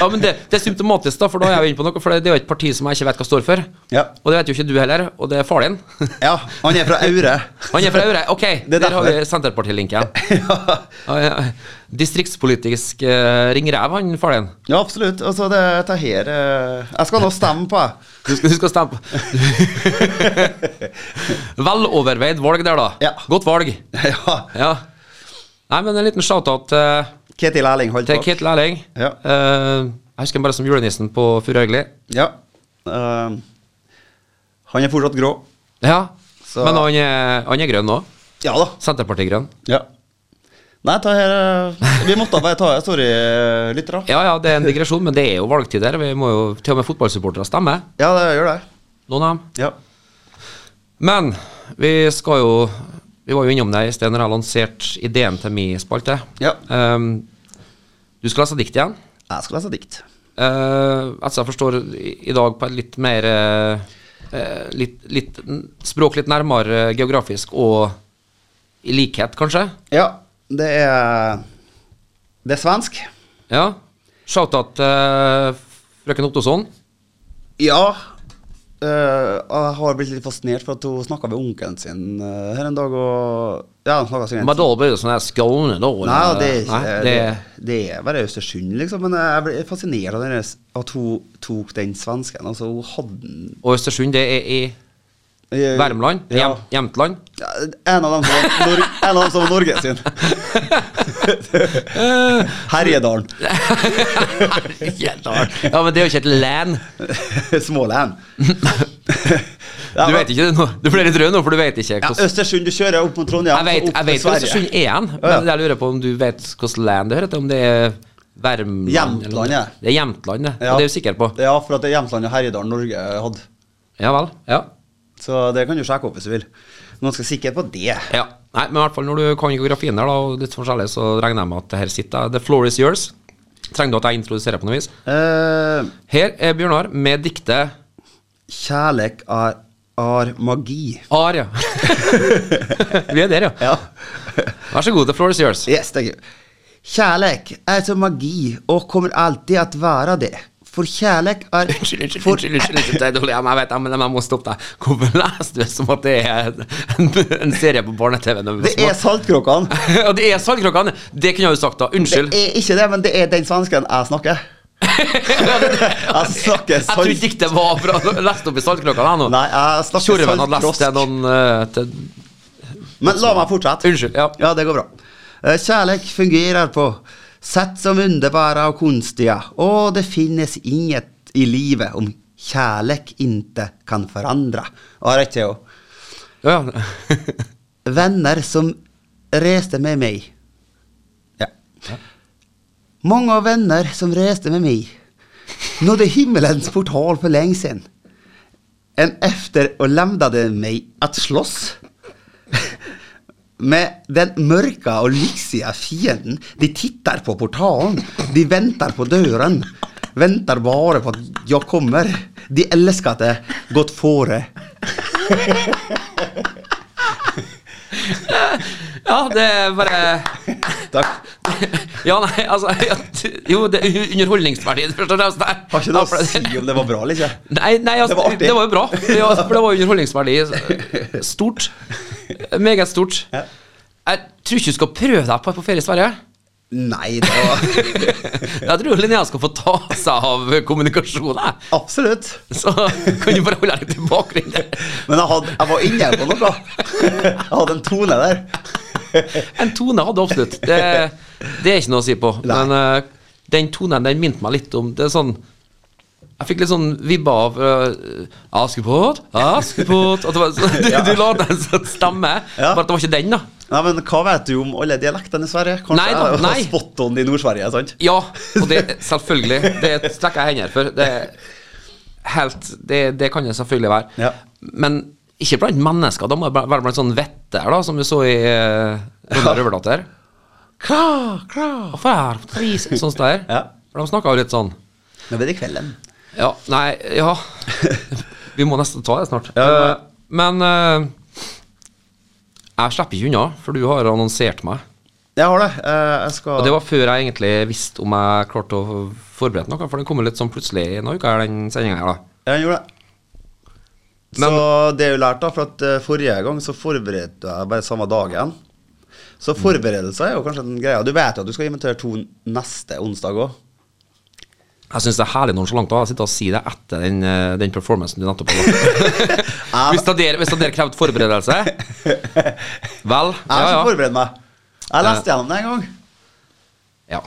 Speaker 4: Ja, men det, det er symptomatisk, da, for da er jeg jo inne på noe. For det, det er jo et parti som jeg ikke vet hva står for.
Speaker 5: Ja.
Speaker 4: Og det vet jo ikke du heller, og det er far din.
Speaker 5: [laughs] ja, han er fra Aure.
Speaker 4: Han er fra Aure. Ok,
Speaker 5: Det er
Speaker 4: der har vi
Speaker 5: derfor.
Speaker 4: Senterpartilinken.
Speaker 5: [laughs] ja.
Speaker 4: Ah, Ja, ja. Distriktspolitisk eh, ringrev, han far din.
Speaker 5: ja, absolutt. Altså, det, dette her eh, Jeg skal nå stemme på, jeg.
Speaker 4: Du skal, du
Speaker 5: [laughs]
Speaker 4: skal stemme på Veloverveid valg der, da.
Speaker 5: Ja.
Speaker 4: Godt valg.
Speaker 5: [laughs] ja.
Speaker 4: Ja. Nei, men en liten shout-out eh,
Speaker 5: Ketil Erling holdt
Speaker 4: til
Speaker 5: bak.
Speaker 4: Ketil Erling.
Speaker 5: Ja.
Speaker 4: Eh, jeg husker ham bare som julenissen på Furuøgli.
Speaker 5: Ja. Eh, han er fortsatt grå.
Speaker 4: Ja.
Speaker 5: Så-
Speaker 4: Men han er, han er grønn nå.
Speaker 5: Ja da.
Speaker 4: Senterpartigrønn.
Speaker 5: Ja. Nei, ta her eh, Vi måtte bare ta eh, her. Sorry, lyttere.
Speaker 4: Ja ja, det er en digresjon, men det er jo valgtid der. Vi må jo til og med fotballsupportere stemme.
Speaker 5: Ja, det gjør det.
Speaker 4: Noen av dem.
Speaker 5: Ja.
Speaker 4: Men vi skal jo Vi var jo innom det i sted når jeg lanserte ideen til min spalte.
Speaker 5: Ja.
Speaker 4: Ehm, du skal lese dikt igjen.
Speaker 5: Jeg skal lese dikt.
Speaker 4: Eh, altså jeg forstår i, i dag på et litt mer eh, eh, litt, litt, n- Språk litt nærmere eh, geografisk og i likhet, kanskje?
Speaker 5: Ja, det er Det er svensk.
Speaker 4: Ja. Shout-out eh, frøken Ottosson.
Speaker 5: Ja. eh, jeg har blitt litt fascinert, for at hun snakka med onkelen sin eh, her en dag, og Ja, han snakka sikkert
Speaker 4: Men da blir det sånn her Skåne, da? eller?
Speaker 5: Nei, det er ikke
Speaker 4: Nei,
Speaker 5: det,
Speaker 4: det,
Speaker 5: det er bare Østersund, liksom. Men jeg ble fascinert av det der, at hun tok den svensken. Altså, hun hadde den
Speaker 4: og Østersund, det er i
Speaker 5: eh,
Speaker 4: Värmland?
Speaker 5: Ja.
Speaker 4: Jem-
Speaker 5: [laughs]
Speaker 4: Jämtland?
Speaker 5: Ja, En av dem som var, Nor en av dem som var Norge
Speaker 4: [laughs]
Speaker 5: sin. Herjedalen.
Speaker 4: ja, men det er jo ikke et land.
Speaker 5: Småland.
Speaker 4: [laughs] Du vet ikke det nå. Du blir litt rød nå, for du vet ikke
Speaker 5: Ja,
Speaker 4: hvordan
Speaker 5: Østersund, du kjører opp mot Trondheim.
Speaker 4: Jeg vet,
Speaker 5: så opp
Speaker 4: jeg
Speaker 5: til
Speaker 4: vet hvor Østersund er igjen,
Speaker 5: Ja, ja.
Speaker 4: men jeg lurer på om du vet hvilket land det hører til? Om det er Värmland?
Speaker 5: Jämtland,
Speaker 4: eller noe.
Speaker 5: ja.
Speaker 4: Det er Jämtland, det.
Speaker 5: Ja.
Speaker 4: Og det er du sikker på?
Speaker 5: Ja, for at det er Jämtland og Herjedalen Norge hadde.
Speaker 4: Ja vel. Ja.
Speaker 5: Så det kan du sjekke opp hvis du vil. Men ganske sikker på det.
Speaker 4: ja. Nei, men i hvert fall når du kan geografien der, da, og litt sånn forskjellig, så regner jeg med at det her sitter. The floor is yours. Trenger du at jeg introduserer på noe vis?
Speaker 5: Eh,
Speaker 4: Her er Bjørnar med diktet
Speaker 5: kjærlek er, er magi.
Speaker 4: Ar, ja. [laughs] Vi er der, ja.
Speaker 5: Ja.
Speaker 4: Vær så god, the floor is yours.
Speaker 5: Yes, thank you. Kjærlek er som magi og kommer alltid at være det. For kjærlek er
Speaker 4: [laughs] Unnskyld, unnskyld,
Speaker 5: for-
Speaker 4: unnskyld, unnskyld, unnskyld, det er dårlig. Jeg vet, jeg, men jeg må stoppe deg. Hvorfor leser du det som at det er en, en serie på barne-TV? når vi var
Speaker 5: Det er
Speaker 4: små?
Speaker 5: Saltkråkene.
Speaker 4: Og det er saltkråkene! Det kunne jeg jo sagt, da.
Speaker 5: Det
Speaker 4: Unnskyld.
Speaker 5: er ikke det, men det er den svensken jeg snakker.
Speaker 4: [laughs]
Speaker 5: Jeg snakker
Speaker 4: Jeg trodde
Speaker 5: salt...
Speaker 4: diktet var fra lest opp i Saltkråkene. jeg, nå.
Speaker 5: Nei, jeg snakker
Speaker 4: Tjorven hadde lest det
Speaker 5: saltkrosk.
Speaker 4: noen eh, til,
Speaker 5: Men la meg fortsette.
Speaker 4: Unnskyld. Ja.
Speaker 5: Ja, det går bra. Eh, Kjærlek fungerer på sett som underbara og kunstige, og det finnes inget i livet om kjærlek inte kan forandre. Og rett til jo.
Speaker 4: Ja.
Speaker 5: Venner som reiste med meg. Ja. Mange av venner som reiste med meg, nådde himmelens portal for lenge siden. En efter og lämnade meg at slåss med den mørka og lyksige fienden. De titter på portalen, de venter på døren. Venter bare på at jeg kommer. De elsker det godt fore.
Speaker 4: ja, det er bare
Speaker 5: [laughs] Takk.
Speaker 4: Ja, nei, altså ja, t- Jo, det er underholdningsverdien, først og fremst. der.
Speaker 5: Har ikke noe å si om det var bra liksom. eller ikke.
Speaker 4: Nei, nei altså,
Speaker 5: Det var artig.
Speaker 4: det, var jo bra. Det var, for det var jo underholdningsverdi. Stort. Meget stort.
Speaker 5: Ja.
Speaker 4: Jeg tror ikke du skal prøve deg på, på ferie i Sverige.
Speaker 5: Nei, det var
Speaker 4: [laughs] Jeg tror Linnea skal få ta seg av kommunikasjon. jeg.
Speaker 5: Absolutt.
Speaker 4: Så kan du bare holde deg til bakgrunnen. der.
Speaker 5: Men jeg, hadde, jeg var inne på noe. Jeg hadde en tone der.
Speaker 4: En tone hadde absolutt. Det, det er ikke noe å si på.
Speaker 5: Nei.
Speaker 4: Men eh, den tonen den minte meg litt om Det er sånn Jeg fikk litt sånn vibba av eh, Askepott, Askepott at det var, sånn- du, du la til en sånn stemme,
Speaker 5: Ja.
Speaker 4: bare at det var ikke den, da.
Speaker 5: Nei, men Hva vet du om alle dialektene i Sverige? Kanskje
Speaker 4: Nei da,
Speaker 5: jeg var
Speaker 4: nei.
Speaker 5: spot on i Nord-Sverige? sant?
Speaker 4: Ja, og det selvfølgelig. Det strekker jeg hender for. Det, er helt, det, det kan det selvfølgelig være.
Speaker 5: Ja.
Speaker 4: Men ikke blant mennesker. Da må det være blant sånne vetter, da, som vi så i eh, Ronda Røverdatter. Kra, kra, fær, tris, sånn som det er.
Speaker 5: Ja.
Speaker 4: For de snakka jo litt sånn.
Speaker 5: Nå blir det kvelden. [laughs]
Speaker 4: Ja, nei, ja Vi må nesten ta det snart.
Speaker 5: Ja, ja, ja.
Speaker 4: Eh, Men eh, Jeg slipper ikke unna, for du har annonsert meg.
Speaker 5: Jeg har det. Eh, Jeg skal
Speaker 4: Og det var før jeg egentlig visste om jeg klarte å forberede noe, for den kom jo litt sånn plutselig i denne uka, her, den sendinga her, da.
Speaker 5: Ja, han gjorde det.
Speaker 4: Men-
Speaker 5: så det er jo lært, da, for at eh, forrige gang så forberedte jeg bare samme dagen. Så
Speaker 4: Mm.
Speaker 5: forberedelser er jo kanskje den greia. Du vet jo at du skal invitere to neste onsdag òg.
Speaker 4: Jeg syns det er herlig nonsjalant å sitte og si det etter den, eh, den performancen du nettopp [laughs] hadde. hvis det der, hvis det der krevde forberedelse Vel,
Speaker 5: Jeg har
Speaker 4: ja,
Speaker 5: ikke
Speaker 4: ja.
Speaker 5: forberedt meg. Jeg leste gjennom det en gang.
Speaker 4: ja.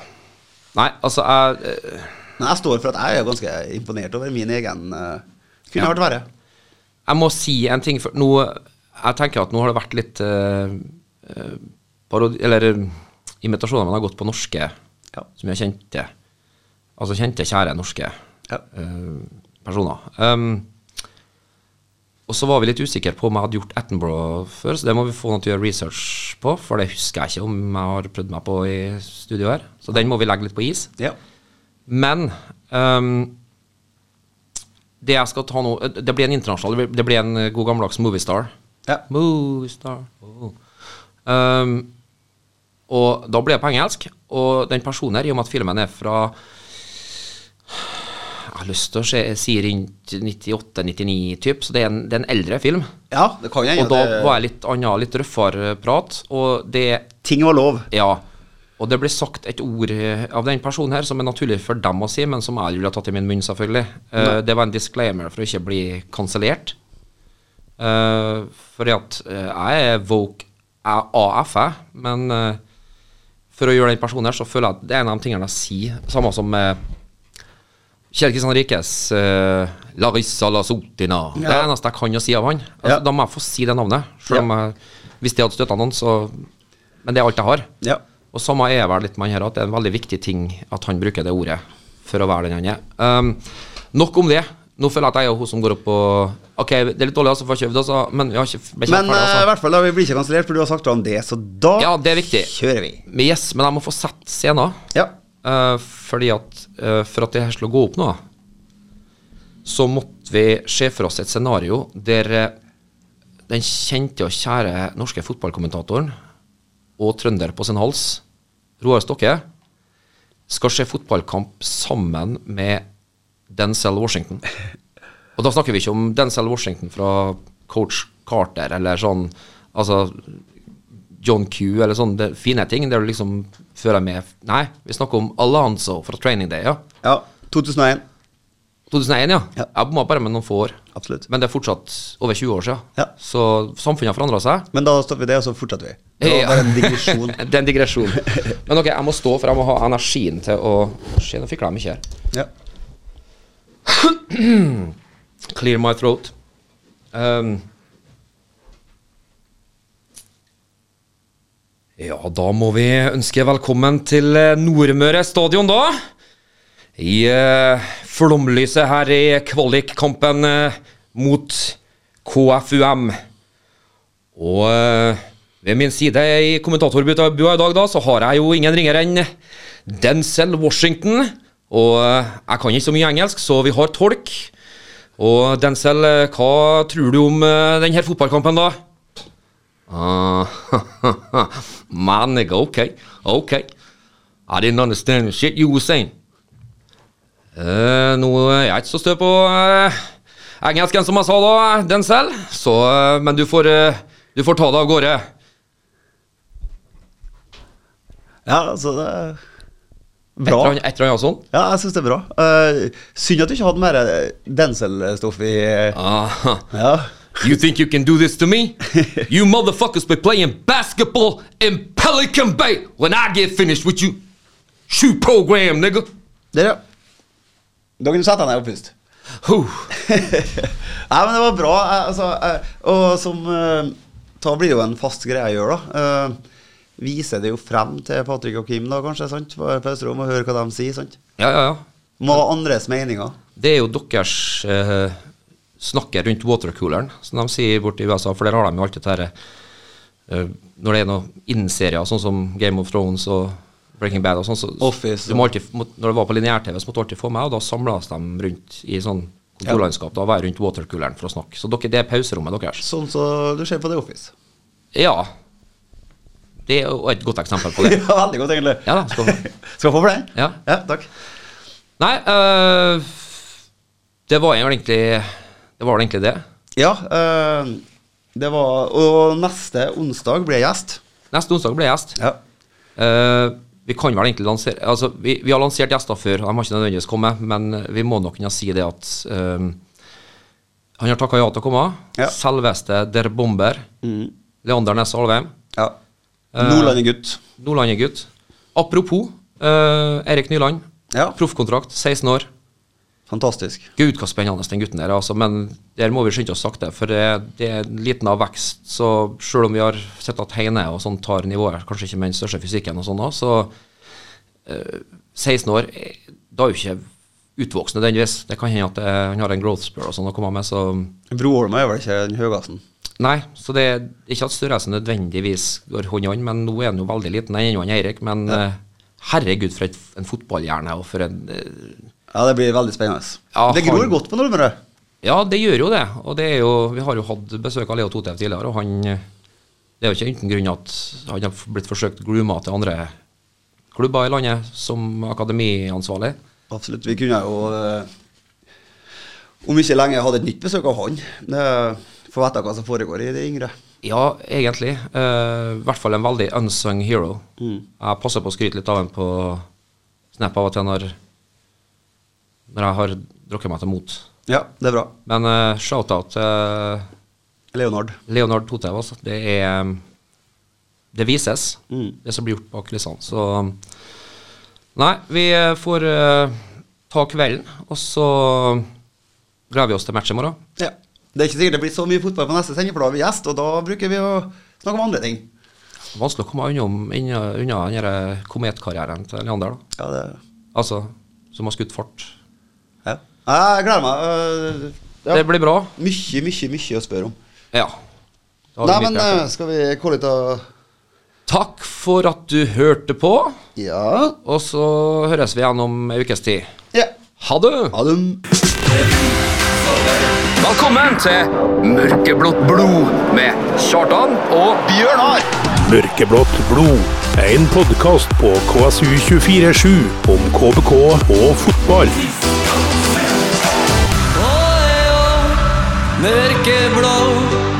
Speaker 4: Nei, altså, jeg eh,
Speaker 5: Men jeg står for at jeg er ganske imponert over min egen eh, Kunne vært verre.
Speaker 4: Jeg må si en ting for nå, Jeg tenker at nå har det vært litt eh, eh, parodi... Eller eh, imitasjoner man har gått på norske,
Speaker 5: Ja.
Speaker 4: som jeg kjente. Altså kjente, kjære norske
Speaker 5: Ja.
Speaker 4: eh, personer. Ehm, og så var vi litt usikre på om jeg hadde gjort Attenborough før, så det må vi få noe til å gjøre research på, for det husker jeg ikke om jeg har prøvd meg på i studio her. Så den må vi legge litt på is.
Speaker 5: Ja.
Speaker 4: Men ehm, det jeg skal ta nå eh, Det blir en internasjonal Det blir en god gammeldags moviestar.
Speaker 5: Ja.
Speaker 4: Moviestar. Oh. Ehm, og da blir det på engelsk. Og den personen her, i og med at filmen er fra Jeg har lyst til å se, si rundt 98-99-typ, så det er, en, det er en eldre film.
Speaker 5: ja, det kan jeg.
Speaker 4: Og da var jeg litt annen, litt røffere prat. Og det
Speaker 5: Ting var lov.
Speaker 4: ja. Og det ble sagt et ord eh, av den personen her som er naturlig for dem å si, men som jeg ville ha tatt i min munn, selvfølgelig. Eh, det var en disclaimer for å ikke bli kansellert. Uh, fordi at eh, jeg er woke jeg er AF, jeg, men eh, for å gjøre den personen her, så føler jeg at det er en av de tingene jeg sier. Samme som eh, Kjell Kristian Rikes eh, Larissa Lasotina. Det er det eneste jeg kan å si av han. Altså,
Speaker 5: Ja.
Speaker 4: Da må jeg få si det navnet. Selv om jeg, hvis det hadde støtta noen, så Men det er alt jeg har.
Speaker 5: Ja.
Speaker 4: Og samme er vel litt med han her, at det er en veldig viktig ting at han bruker det ordet for å være den han er. Um, nok om det. Nå føler jeg at jeg er hun som går opp og Ok, det er litt dårlig, altså, for kjøpt, altså, men vi har ikke ble ikke
Speaker 5: Men
Speaker 4: ferdig,
Speaker 5: eh, i hvert fall, da, vi blir ikke kansellert, for du har sagt om det, så da
Speaker 4: altså. Ja, det er viktig.
Speaker 5: kjører vi.
Speaker 4: Men yes, men jeg må få sett scenen.
Speaker 5: Ja.
Speaker 4: Eh, fordi at eh, For at det her skulle gå opp nå, så måtte vi se for oss et scenario der eh, den kjente og kjære norske fotballkommentatoren og trønder på sin hals, Roar Stokke, skal se fotballkamp sammen med Denzel Washington. Og da snakker vi ikke om Denzel Washington fra coach Carter eller sånn Altså John Q eller sånn det, fine ting der du liksom fører med Nei, vi snakker om Alonso fra Training Day, ja.
Speaker 5: ja. 2001.
Speaker 4: 2001, ja.
Speaker 5: Ja.
Speaker 4: Jeg bomma bare med noen få år.
Speaker 5: Absolutt.
Speaker 4: Men det er fortsatt over 20 år siden.
Speaker 5: Ja.
Speaker 4: Så samfunnet har forandra seg.
Speaker 5: Men da stopper vi det, og så fortsetter vi. Det var
Speaker 4: Ja.
Speaker 5: bare en digresjon.
Speaker 4: [laughs] Det er en digresjon.
Speaker 5: [laughs]
Speaker 4: Men ok, jeg må stå, for jeg må ha energien til å Shit, nå fikk jeg mye her.
Speaker 5: ja.
Speaker 4: Clear my throat. Ehm. ja, da må vi ønske velkommen til eh, Nordmøre stadion, da. I eh, flomlyset her i kvalikkampen eh, mot KFUM. Og eh, ved min side i kommentatorbua i dag, da, så har jeg jo ingen ringere enn Denzel Washington. Og eh, jeg kan ikke så mye engelsk, så vi har tolk. Og Denzel, eh, hva tror du om eh, denne fotballkampen, da? Ah, [laughs] Uh, my nigga, okay, okay. I didn't understand the shit you were saying. Eh, nå er jeg ikke så stø på eh, engelsken som jeg sa da, Denzel. Så, eh, men du får, eh, du får ta det av gårde.
Speaker 5: ja, altså det er
Speaker 4: Et
Speaker 5: Bra.
Speaker 4: eller annet- et eller annet sånt.
Speaker 5: Ja, jeg syns det er bra. Eh, synd at du ikke hadde mer eh, Denzel-stoff i
Speaker 4: Ah,
Speaker 5: Ja.
Speaker 4: you think you can do this to me? You motherfuckers been playing basketball in Pelican Bay when I get finished with you. Shoot program, nigga.
Speaker 5: Der, ja. Da kan du sette deg ned og puste.
Speaker 4: Huh.
Speaker 5: [laughs] Nei, men det var bra. eh, Altså, eh, og som eh, Da blir det jo en fast greie jeg gjør, da. Eh, viser det jo frem til Patrick og Kim, da, kanskje, sant? på pauserom, og hører hva de sier. sant?
Speaker 4: Ja, ja, ja.
Speaker 5: Må ha andres meninger.
Speaker 4: Det er jo deres eh, snakket rundt watercooleren, som de sier borte i USA, for der har de jo alltid dette uh, Når det er noen innserier, sånn som Game of Thrones og Breaking Bad og sånn, så
Speaker 5: Office,
Speaker 4: du må alltid, må, Når det var på lineær-TV, så måtte du alltid få meg, og da samles de rundt i sånn kontorlandskap. Da var jeg rundt watercooleren for å snakke. Så dere, det er pauserommet deres.
Speaker 5: Sånn som du ser på The Office.
Speaker 4: Ja. Det er jo et godt eksempel på
Speaker 5: [laughs]
Speaker 4: det.
Speaker 5: [laughs] Ja, veldig godt, egentlig.
Speaker 4: Ja da, skal få.
Speaker 5: [laughs] Skal få for den?
Speaker 4: Ja.
Speaker 5: ja takk.
Speaker 4: Nei, øh, det var jo egentlig Det var vel egentlig det.
Speaker 5: Ja, eh, det var Og neste onsdag blir jeg gjest.
Speaker 4: Neste onsdag blir jeg gjest.
Speaker 5: Ja.
Speaker 4: Eh, vi kan vel egentlig lansere Altså, vi, vi har lansert gjester før, de har ikke nødvendigvis kommet, men vi må nok kunne si det at eh, han har takka ja til å komme.
Speaker 5: Ja. Mm.
Speaker 4: Selveste Der Bomber. Leander Næss Alvheim.
Speaker 5: ja.
Speaker 4: Eh.
Speaker 5: Nordlandegutt.
Speaker 4: Nordlandet-gutt. Apropos eh, Erik Nyland.
Speaker 5: Ja.
Speaker 4: Proffkontrakt, 16 år.
Speaker 5: Fantastisk.
Speaker 4: Gud, hva spennende den gutten der, altså. Men der må vi skynde oss sakte, for det, det er en liten avvekst. Så selv om vi har sett at Heine og sånn tar nivået, kanskje ikke med den største fysikken og sånn, da, så eh, 16 år, eh, da er jo ikke utvokst nødvendigvis. Det kan hende at eh, han har en growth spur og sånn å komme med, så
Speaker 5: Broholma er vel ikke den høyeste?
Speaker 4: Nei, så det er ikke at størrelsen nødvendigvis går hånd i hånd, men nå er han jo veldig liten, den ene Eirik. Men eh, herregud, for et, en fotballhjerne, og for en eh,
Speaker 5: Ja, det blir veldig spennende.
Speaker 4: Ja,
Speaker 5: det gror
Speaker 4: han-
Speaker 5: godt på Nordmøre.
Speaker 4: Ja, det gjør jo det. Og det er jo, vi har jo hatt besøk av Leo Totev tidligere, og han eh, Det er jo ikke uten grunn at han har blitt forsøkt grooma til andre klubber i landet som akademiansvarlig.
Speaker 5: Absolutt. Vi kunne jo eh, om ikke lenge hatt et nytt besøk av han. Det- Få vite hva som foregår i det yngre.
Speaker 4: Ja, egentlig. Eh, I hvert fall en veldig unsung hero. Jeg passer på å skryte litt av ham på snap av og til når, når jeg har drukket meg til mot.
Speaker 5: Ja, det er bra.
Speaker 4: Men eh, shout-out til
Speaker 5: Leonard.
Speaker 4: Leonard Totev, altså. Det er Det vises,
Speaker 6: Mm.
Speaker 4: det som blir gjort bak kulissene. Så um, Nei, vi eh, får eh, ta kvelden, og så gleder vi oss til match i morgen.
Speaker 5: Ja. Det er ikke sikkert det blir så mye fotball på neste sending, for da har vi gjest, og da bruker vi å snakke om andre ting.
Speaker 4: Vanskelig å komme unna, unna, unna den her kometkarrieren til Leander, da.
Speaker 5: Ja, det
Speaker 4: Altså, som har skutt fart.
Speaker 5: ja. Jeg gleder meg. øh,
Speaker 4: Det
Speaker 5: Ja.
Speaker 4: blir bra.
Speaker 5: Mye, mye, mye å spørre om.
Speaker 4: Ja. Da har vi
Speaker 6: Nei,
Speaker 4: mitt
Speaker 6: men
Speaker 4: hjerte.
Speaker 6: eh, skal vi gå litt av
Speaker 4: Takk for at du hørte på,
Speaker 6: Ja.
Speaker 4: og så høres vi igjen om ei ukes tid.
Speaker 6: ja.
Speaker 4: Ha det!
Speaker 6: Ha det.
Speaker 1: Velkommen til Mørkeblått blod med Kjartan og Bjørnar.
Speaker 3: Mørkeblått blod er en podkast på KSU247 om KBK og fotball.
Speaker 7: Mørkeblå